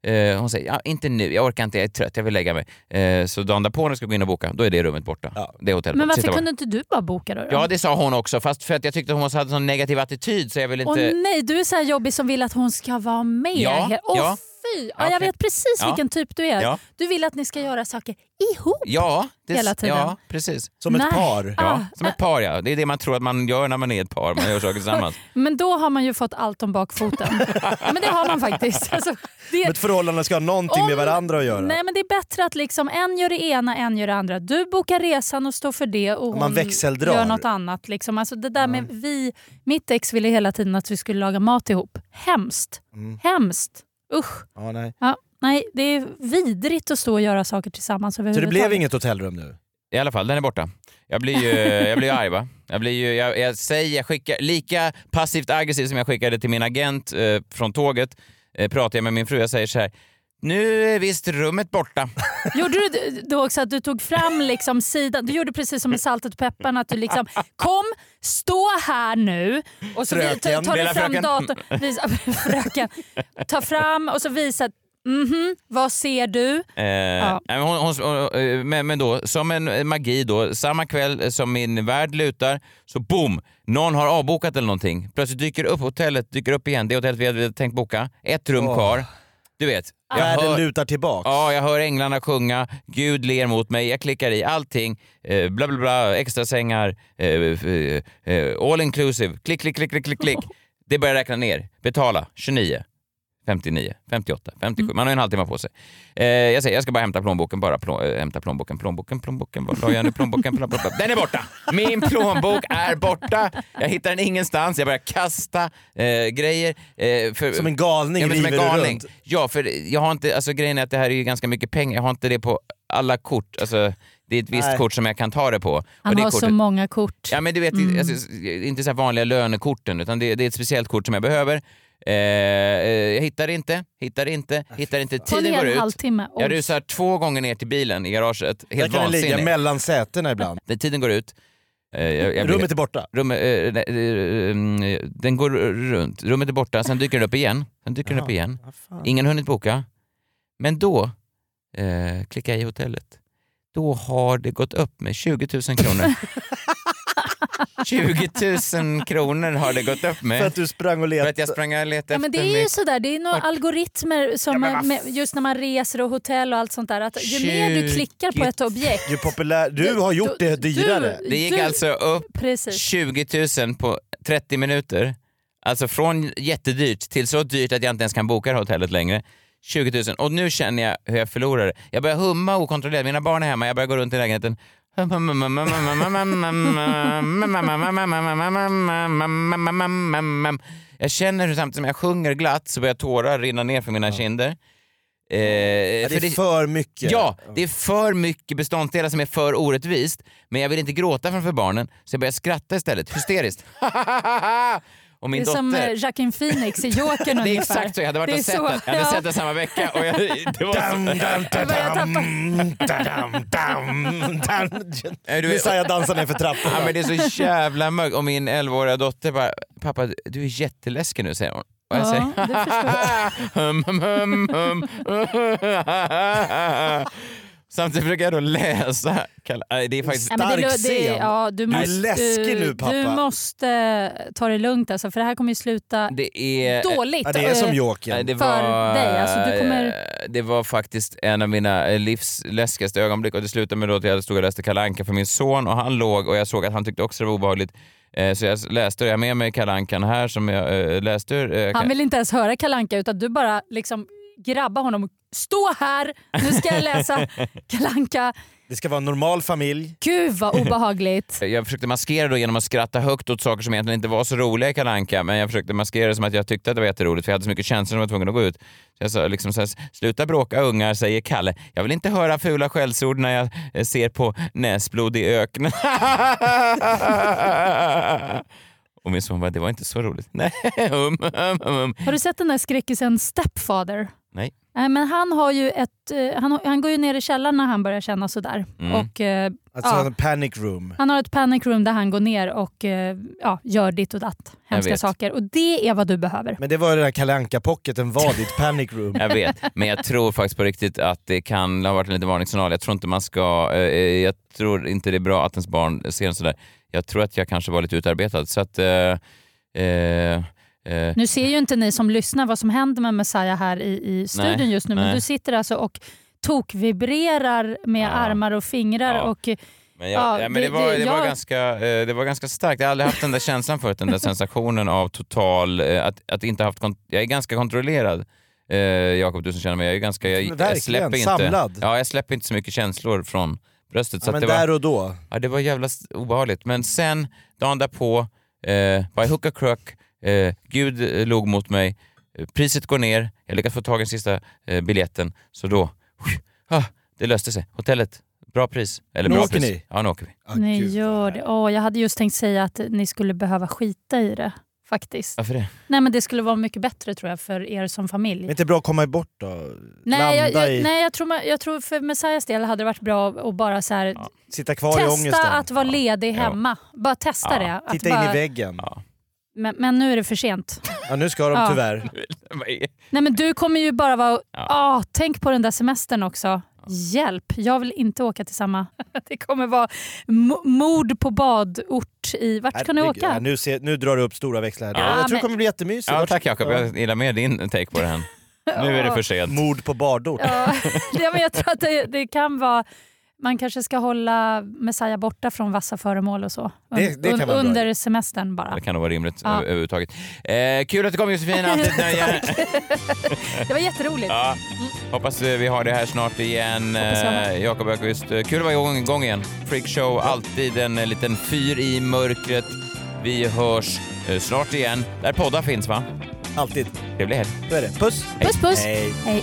Speaker 2: Eh, hon säger, ja, inte nu, jag orkar inte, jag är trött, jag vill lägga mig. Eh, så dagen därpå när jag ska gå in och boka, då är det rummet borta.
Speaker 1: Ja.
Speaker 2: Det hotellet
Speaker 3: men
Speaker 2: borta.
Speaker 3: varför
Speaker 2: Sista
Speaker 3: kunde inte du bara boka då? då?
Speaker 2: bara- Ja, det sa hon också, fast för att jag tyckte hon hade sån negativ attityd så jag vill inte...
Speaker 3: Åh nej, du är så här jobbig som vill att hon ska vara med.
Speaker 2: Ja,
Speaker 3: Åh
Speaker 2: ja.
Speaker 3: fy! Ja,
Speaker 2: Okej.
Speaker 3: Jag vet precis
Speaker 2: Ja.
Speaker 3: vilken typ du är.
Speaker 2: Ja.
Speaker 3: Du vill att ni ska göra saker ihop.
Speaker 2: Ja, det,
Speaker 3: Hela tiden.
Speaker 2: ja, precis.
Speaker 1: Som ett
Speaker 3: Nej.
Speaker 1: par.
Speaker 2: Ja,
Speaker 3: Ah,
Speaker 2: som ett par ja. Det är det man tror att man gör när man är ett par, man gör saker tillsammans.
Speaker 3: Men då har man ju fått allt om bakfoten. ja, men det har man faktiskt. Alltså, det,
Speaker 1: Men Ett förhållande ska ha någonting med
Speaker 3: Om-
Speaker 1: varandra att göra.
Speaker 3: Nej men det är bättre att liksom en gör det ena, en gör det andra. Du bokar resan och står för det och
Speaker 1: Man
Speaker 3: hon
Speaker 1: växeldrar.
Speaker 3: gör något annat. Liksom. Alltså det där med vi, mitt ex ville hela tiden att vi skulle laga mat ihop. Hemskt.
Speaker 1: Mm.
Speaker 3: Hemskt. Usch.
Speaker 1: Ja, nej.
Speaker 3: Ja, nej, det är vidrigt att stå och göra saker tillsammans
Speaker 1: Så det blev
Speaker 3: överhuvudtaget.
Speaker 1: inget hotellrum nu?
Speaker 2: I alla fall, den är borta. Jag blir ju, jag blir ju arg va? Jag, blir ju, jag, jag säger, jag skickar, lika passivt aggressivt som jag skickade till min agent eh, från tåget eh, pratar jag med min fru. Jag säger så här, nu är visst rummet borta.
Speaker 3: Gjorde du då också att du tog fram liksom sidan, du gjorde precis som med saltet och pepparn att du liksom kom, stå här nu och så vi- ta-
Speaker 1: Fröken,
Speaker 3: tar du
Speaker 2: lilla
Speaker 3: fram
Speaker 2: fröken.
Speaker 3: datorn, visa, <laughs> fröken, ta fram och så visa, mhm, vad ser du?
Speaker 2: Eh, nej, men, hon, hon, eh, men, men då, som en eh, magi då, samma kväll som min värld lutar så boom, någon har avbokat eller någonting. Plötsligt dyker upp hotellet, dyker upp igen, det hotellet vi hade tänkt boka. Ett rum
Speaker 1: Åh.
Speaker 2: kvar. Du vet. jag
Speaker 1: Världen
Speaker 2: hör-
Speaker 1: lutar tillbaka.
Speaker 2: Ja, jag hör änglarna sjunga, Gud ler mot mig, jag klickar i allting, eh, bla bla bla, extra sängar, eh, eh, eh, all inclusive, klick, klick, klick, klick, klick,
Speaker 1: <laughs>
Speaker 2: klick. Det börjar räkna ner. Betala 29, 59, 58, 57. Man har ju en halvtimme på sig. Eh, jag säger, jag ska bara hämta plånboken bara. Plå, eh, hämta plånboken, plånboken, plånboken. Var la jag nu plånboken? plånboken? Den är borta! Min plånbok är borta! Jag hittar den ingenstans. Jag börjar kasta eh, grejer. Eh, för,
Speaker 1: Som en galning
Speaker 2: ja, men som en
Speaker 1: river du
Speaker 2: galning.
Speaker 1: runt.
Speaker 2: Ja, för jag har inte, alltså grejen är att det här är ju ganska mycket pengar. Jag har inte det på alla kort. Alltså, det är ett visst
Speaker 1: Nej.
Speaker 2: kort som jag kan ta det på.
Speaker 3: Han
Speaker 2: det
Speaker 3: har
Speaker 2: kortet-
Speaker 3: så Mm. många kort.
Speaker 2: Ja, men du vet, alltså, inte så här vanliga lönekorten, utan det, det är ett speciellt kort som jag behöver. Eh, eh, jag hittar det inte, hittar det
Speaker 1: Äh,
Speaker 2: inte, hittar det inte.
Speaker 3: På en
Speaker 2: Tiden går
Speaker 3: hel
Speaker 2: ut.
Speaker 3: halvtimme.
Speaker 2: Jag
Speaker 3: Oj.
Speaker 2: rusar två gånger ner till bilen i garaget.
Speaker 1: Där
Speaker 2: Helt
Speaker 1: kan den ligga
Speaker 2: vansinnigt.
Speaker 1: mellan sätena ibland.
Speaker 2: Den Tiden går ut. Eh, <laughs> jag- jag blir-
Speaker 1: Rummet är borta.
Speaker 2: Rum, eh, eh, eh, den går runt, rummet är borta, sen dyker den upp igen. Sen dyker den upp igen. Ingen har hunnit boka. Men då eh, klickar jag i hotellet. Då har det gått upp med 20 000 kronor.
Speaker 1: <laughs>
Speaker 2: 20 000 kronor har det gått upp
Speaker 1: För
Speaker 2: med.
Speaker 1: att du sprang och
Speaker 2: För
Speaker 1: letade.
Speaker 2: att jag sprang och letade
Speaker 3: Ja, men det
Speaker 2: efter
Speaker 3: är ju
Speaker 2: mitt-
Speaker 3: sådär, det är några algoritmer som man, med, just när man reser och hotell och allt sånt där. Att ju mer du klickar på ett objekt.
Speaker 1: Du, är populär. du har gjort det dyrare.
Speaker 2: Det gick
Speaker 3: du-
Speaker 2: alltså upp
Speaker 3: Precis.
Speaker 2: 20 000 på 30 minuter. Alltså från jättedyrt till så dyrt att jag inte ens kan boka det här hotellet längre. 20 000. Och nu känner jag hur jag förlorar det. Jag börjar humma okontrollerat. Mina barn är hemma. Jag börjar gå runt i lägenheten. Jag känner hur samtidigt som jag sjunger glatt så börjar tårar rinna ner för mina kinder. Eh,
Speaker 1: Ja, Det
Speaker 2: för
Speaker 1: är för mycket.
Speaker 2: Ja, det är för mycket beståndsdelar som är för orättvist. Men jag vill inte gråta framför barnen så jag börjar skratta istället, hysteriskt. <laughs> och
Speaker 3: Det
Speaker 2: min
Speaker 3: är
Speaker 2: dotter...
Speaker 3: som eh, Jacqueline Phoenix i Jokern
Speaker 2: <laughs> det är
Speaker 3: ungefär.
Speaker 2: exakt så, jag hade
Speaker 3: Det
Speaker 2: varit
Speaker 3: är
Speaker 2: och sett
Speaker 3: så,
Speaker 2: den. Jag hade
Speaker 3: ja.
Speaker 2: sett den samma vecka och jag, det var
Speaker 1: Dam,
Speaker 2: så...
Speaker 1: dam,
Speaker 3: Jag börjar tappa.
Speaker 1: dam, dam, dam.
Speaker 2: <laughs>
Speaker 1: <laughs>
Speaker 2: Nej, du vet-
Speaker 1: Messiah dansar nerför
Speaker 2: Ja,
Speaker 1: trappan.
Speaker 2: men det är så jävla mörkt. Och min 11-åriga dotter bara, pappa du är jätteläskig nu säger hon. Och jag säger,
Speaker 3: Ja, det
Speaker 2: <laughs>
Speaker 3: förstår jag.
Speaker 2: hum, hum, hum, hum. <laughs> Samtidigt försöker jag då läsa Kalle... Nej, det är faktiskt...
Speaker 3: Nej, men det-
Speaker 1: Stark
Speaker 3: det-
Speaker 1: scen.
Speaker 3: ja, du,
Speaker 1: Du är
Speaker 3: måste,
Speaker 1: läskig nu, pappa.
Speaker 3: Du måste eh, ta det lugnt alltså, för det här kommer ju sluta
Speaker 2: Det är...
Speaker 3: dåligt.
Speaker 1: Ja, det är som
Speaker 3: Eh,
Speaker 1: Jokern.
Speaker 2: Nej, det
Speaker 3: för
Speaker 2: var, eh,
Speaker 3: dig. Alltså, du kommer-
Speaker 2: Det var faktiskt en av mina eh, livs läskigaste ögonblick och det slutade med då att jag stod och läste Kalle Anka för min son och han låg och jag såg att han tyckte också det var obehagligt. Eh, Så jag läste, jag har med mig Kalle Ankan här som jag eh, läste ur. Eh,
Speaker 3: Han vill inte ens höra Kalanka utan du bara liksom grabbar honom. och, Stå här, nu ska
Speaker 1: <laughs>
Speaker 3: jag läsa Kalanka.
Speaker 1: Det ska vara en normal familj.
Speaker 3: Gud vad obehagligt.
Speaker 2: Jag försökte maskera då genom att skratta högt åt saker som egentligen inte var så roliga i Kalle Anka, men jag försökte maskera det som att jag tyckte att det var jätteroligt för jag hade så mycket känslor som jag var tvungen att gå ut. Så jag sa liksom så här, sluta bråka ungar, säger Kalle. Jag vill inte höra fula skällsord när jag eh, ser på näsblod i öknen. <laughs> Och min son bara, det var inte så roligt. <laughs> Nej, um, um, um, um.
Speaker 3: Har du sett den där skräckisen Stepfather?
Speaker 2: Nej.
Speaker 3: Nej, men han, har ju ett, eh, han, har- han går ju ner i källaren när han börjar känna sådär.
Speaker 2: Mm.
Speaker 3: Och, eh,
Speaker 1: Alltså
Speaker 3: Ja.
Speaker 1: en panic room.
Speaker 3: han har ett panic room där han går ner och eh, ja, gör ditt och datt. Hemska
Speaker 2: vet.
Speaker 3: saker. Och det är vad du behöver.
Speaker 1: Men det var ju den där Kalle Anka-pocketen var ditt
Speaker 2: <laughs>
Speaker 1: panic room.
Speaker 2: Jag vet, men jag tror faktiskt på riktigt att det kan ha varit en liten varningssignal. Jag tror inte man ska... Eh, jag tror inte det är bra att ens barn ser en sådär. Jag tror att jag kanske var lite utarbetad. Så att... Eh, eh, eh,
Speaker 3: Nu ser ju inte ni som lyssnar vad som händer med Messiah här i, i studion
Speaker 2: Nej,
Speaker 3: just nu, men
Speaker 2: nej.
Speaker 3: du sitter alltså och tokvibrerar med
Speaker 2: Ja.
Speaker 3: armar och fingrar
Speaker 2: Ja.
Speaker 3: och
Speaker 2: men jag,
Speaker 3: Ja,
Speaker 2: ja, men det,
Speaker 3: det-
Speaker 2: var,
Speaker 3: det-
Speaker 2: det, var
Speaker 3: jag-
Speaker 2: ganska, eh, det var ganska starkt. Jag har aldrig haft den där känslan förut,
Speaker 1: <laughs>
Speaker 2: den där sensationen av total... Eh, att, att inte haft kont- jag är ganska kontrollerad. Eh, Jakob, du som känner mig, jag är ganska... Jag,
Speaker 1: Men
Speaker 2: jag
Speaker 1: verkligen,
Speaker 2: släpper inte,
Speaker 1: samlad.
Speaker 2: Ja, jag släpper inte så mycket känslor från bröstet. Så att
Speaker 1: Ja, men
Speaker 2: det var,
Speaker 1: där och då.
Speaker 2: Ja, det var jävla s- obehagligt. Men sen, dagen därpå, eh, by hook or crook, eh, Gud eh, log mot mig, eh, priset går ner, jag lyckas få tag i den sista eh, biljetten, så då, ah, det löste sig. Hotellet, bra pris. Eller
Speaker 1: Nu
Speaker 2: bra
Speaker 1: åker
Speaker 2: pris.
Speaker 1: ni.
Speaker 2: Ja, nu åker vi.
Speaker 1: Ah,
Speaker 3: ni
Speaker 1: gud.
Speaker 3: gör det. Åh, jag hade just tänkt säga att ni skulle behöva skita i det faktiskt.
Speaker 2: Varför det?
Speaker 3: Nej men det skulle vara mycket bättre tror jag för er som familj.
Speaker 1: Men inte bra att komma bort då?
Speaker 3: Nej, jag,
Speaker 1: Landa i-
Speaker 3: jag, nej jag, tror, man- jag tror för Messiahs del hade det varit bra att bara så här,
Speaker 1: Sitta kvar i
Speaker 3: testa
Speaker 1: ångesten?
Speaker 3: att vara ledig
Speaker 2: Ja.
Speaker 3: hemma. Bara testa
Speaker 2: Ja.
Speaker 3: det. Att
Speaker 1: Titta in
Speaker 3: bara,
Speaker 1: i väggen?
Speaker 2: Ja.
Speaker 3: men, men nu är det för sent.
Speaker 1: Ja, nu ska de
Speaker 3: Ja.
Speaker 1: tyvärr.
Speaker 3: Nej men du kommer ju bara vara...
Speaker 2: Ja.
Speaker 3: Ah, tänk på den där semestern också. Hjälp, jag vill inte åka till samma. <laughs> Det kommer vara mo- mord på badort i... Vart ska ni
Speaker 1: Herregud. Ja,
Speaker 3: åka?
Speaker 1: nu, ser, nu drar du upp stora växlar. här.
Speaker 2: Ja,
Speaker 1: jag tror
Speaker 3: men-
Speaker 1: det kommer bli jättemysigt.
Speaker 2: Ja, tack Jakob,
Speaker 1: Ja.
Speaker 2: jag gillar mer din take på det <laughs> här. Nu är det för sent.
Speaker 1: Mord på badort.
Speaker 3: <laughs> Ja, nej, men jag tror att det, det kan vara... Man kanske ska hålla Messiah borta från vassa föremål och så.
Speaker 1: Det- det kan vara bra.
Speaker 3: under semestern bara.
Speaker 2: Det kan nog vara rimligt
Speaker 3: Ja.
Speaker 2: över- överhuvudtaget. Eh, kul att du kom Josefin, <laughs> alltid ett nöje.
Speaker 3: Det var jätteroligt.
Speaker 2: Ja. Hoppas eh, vi har det här snart igen.
Speaker 3: Hoppas jag med.
Speaker 2: Eh, Jakob Öqvist, eh, kul att vara igång, igång igen. Freakshow, alltid en eh, liten fyr i mörkret. Vi hörs eh, snart igen, där poddar finns va?
Speaker 1: Alltid.
Speaker 2: Trevlig helg.
Speaker 1: Så är det. Puss!
Speaker 3: Puss puss!
Speaker 1: Hej.
Speaker 3: Hej.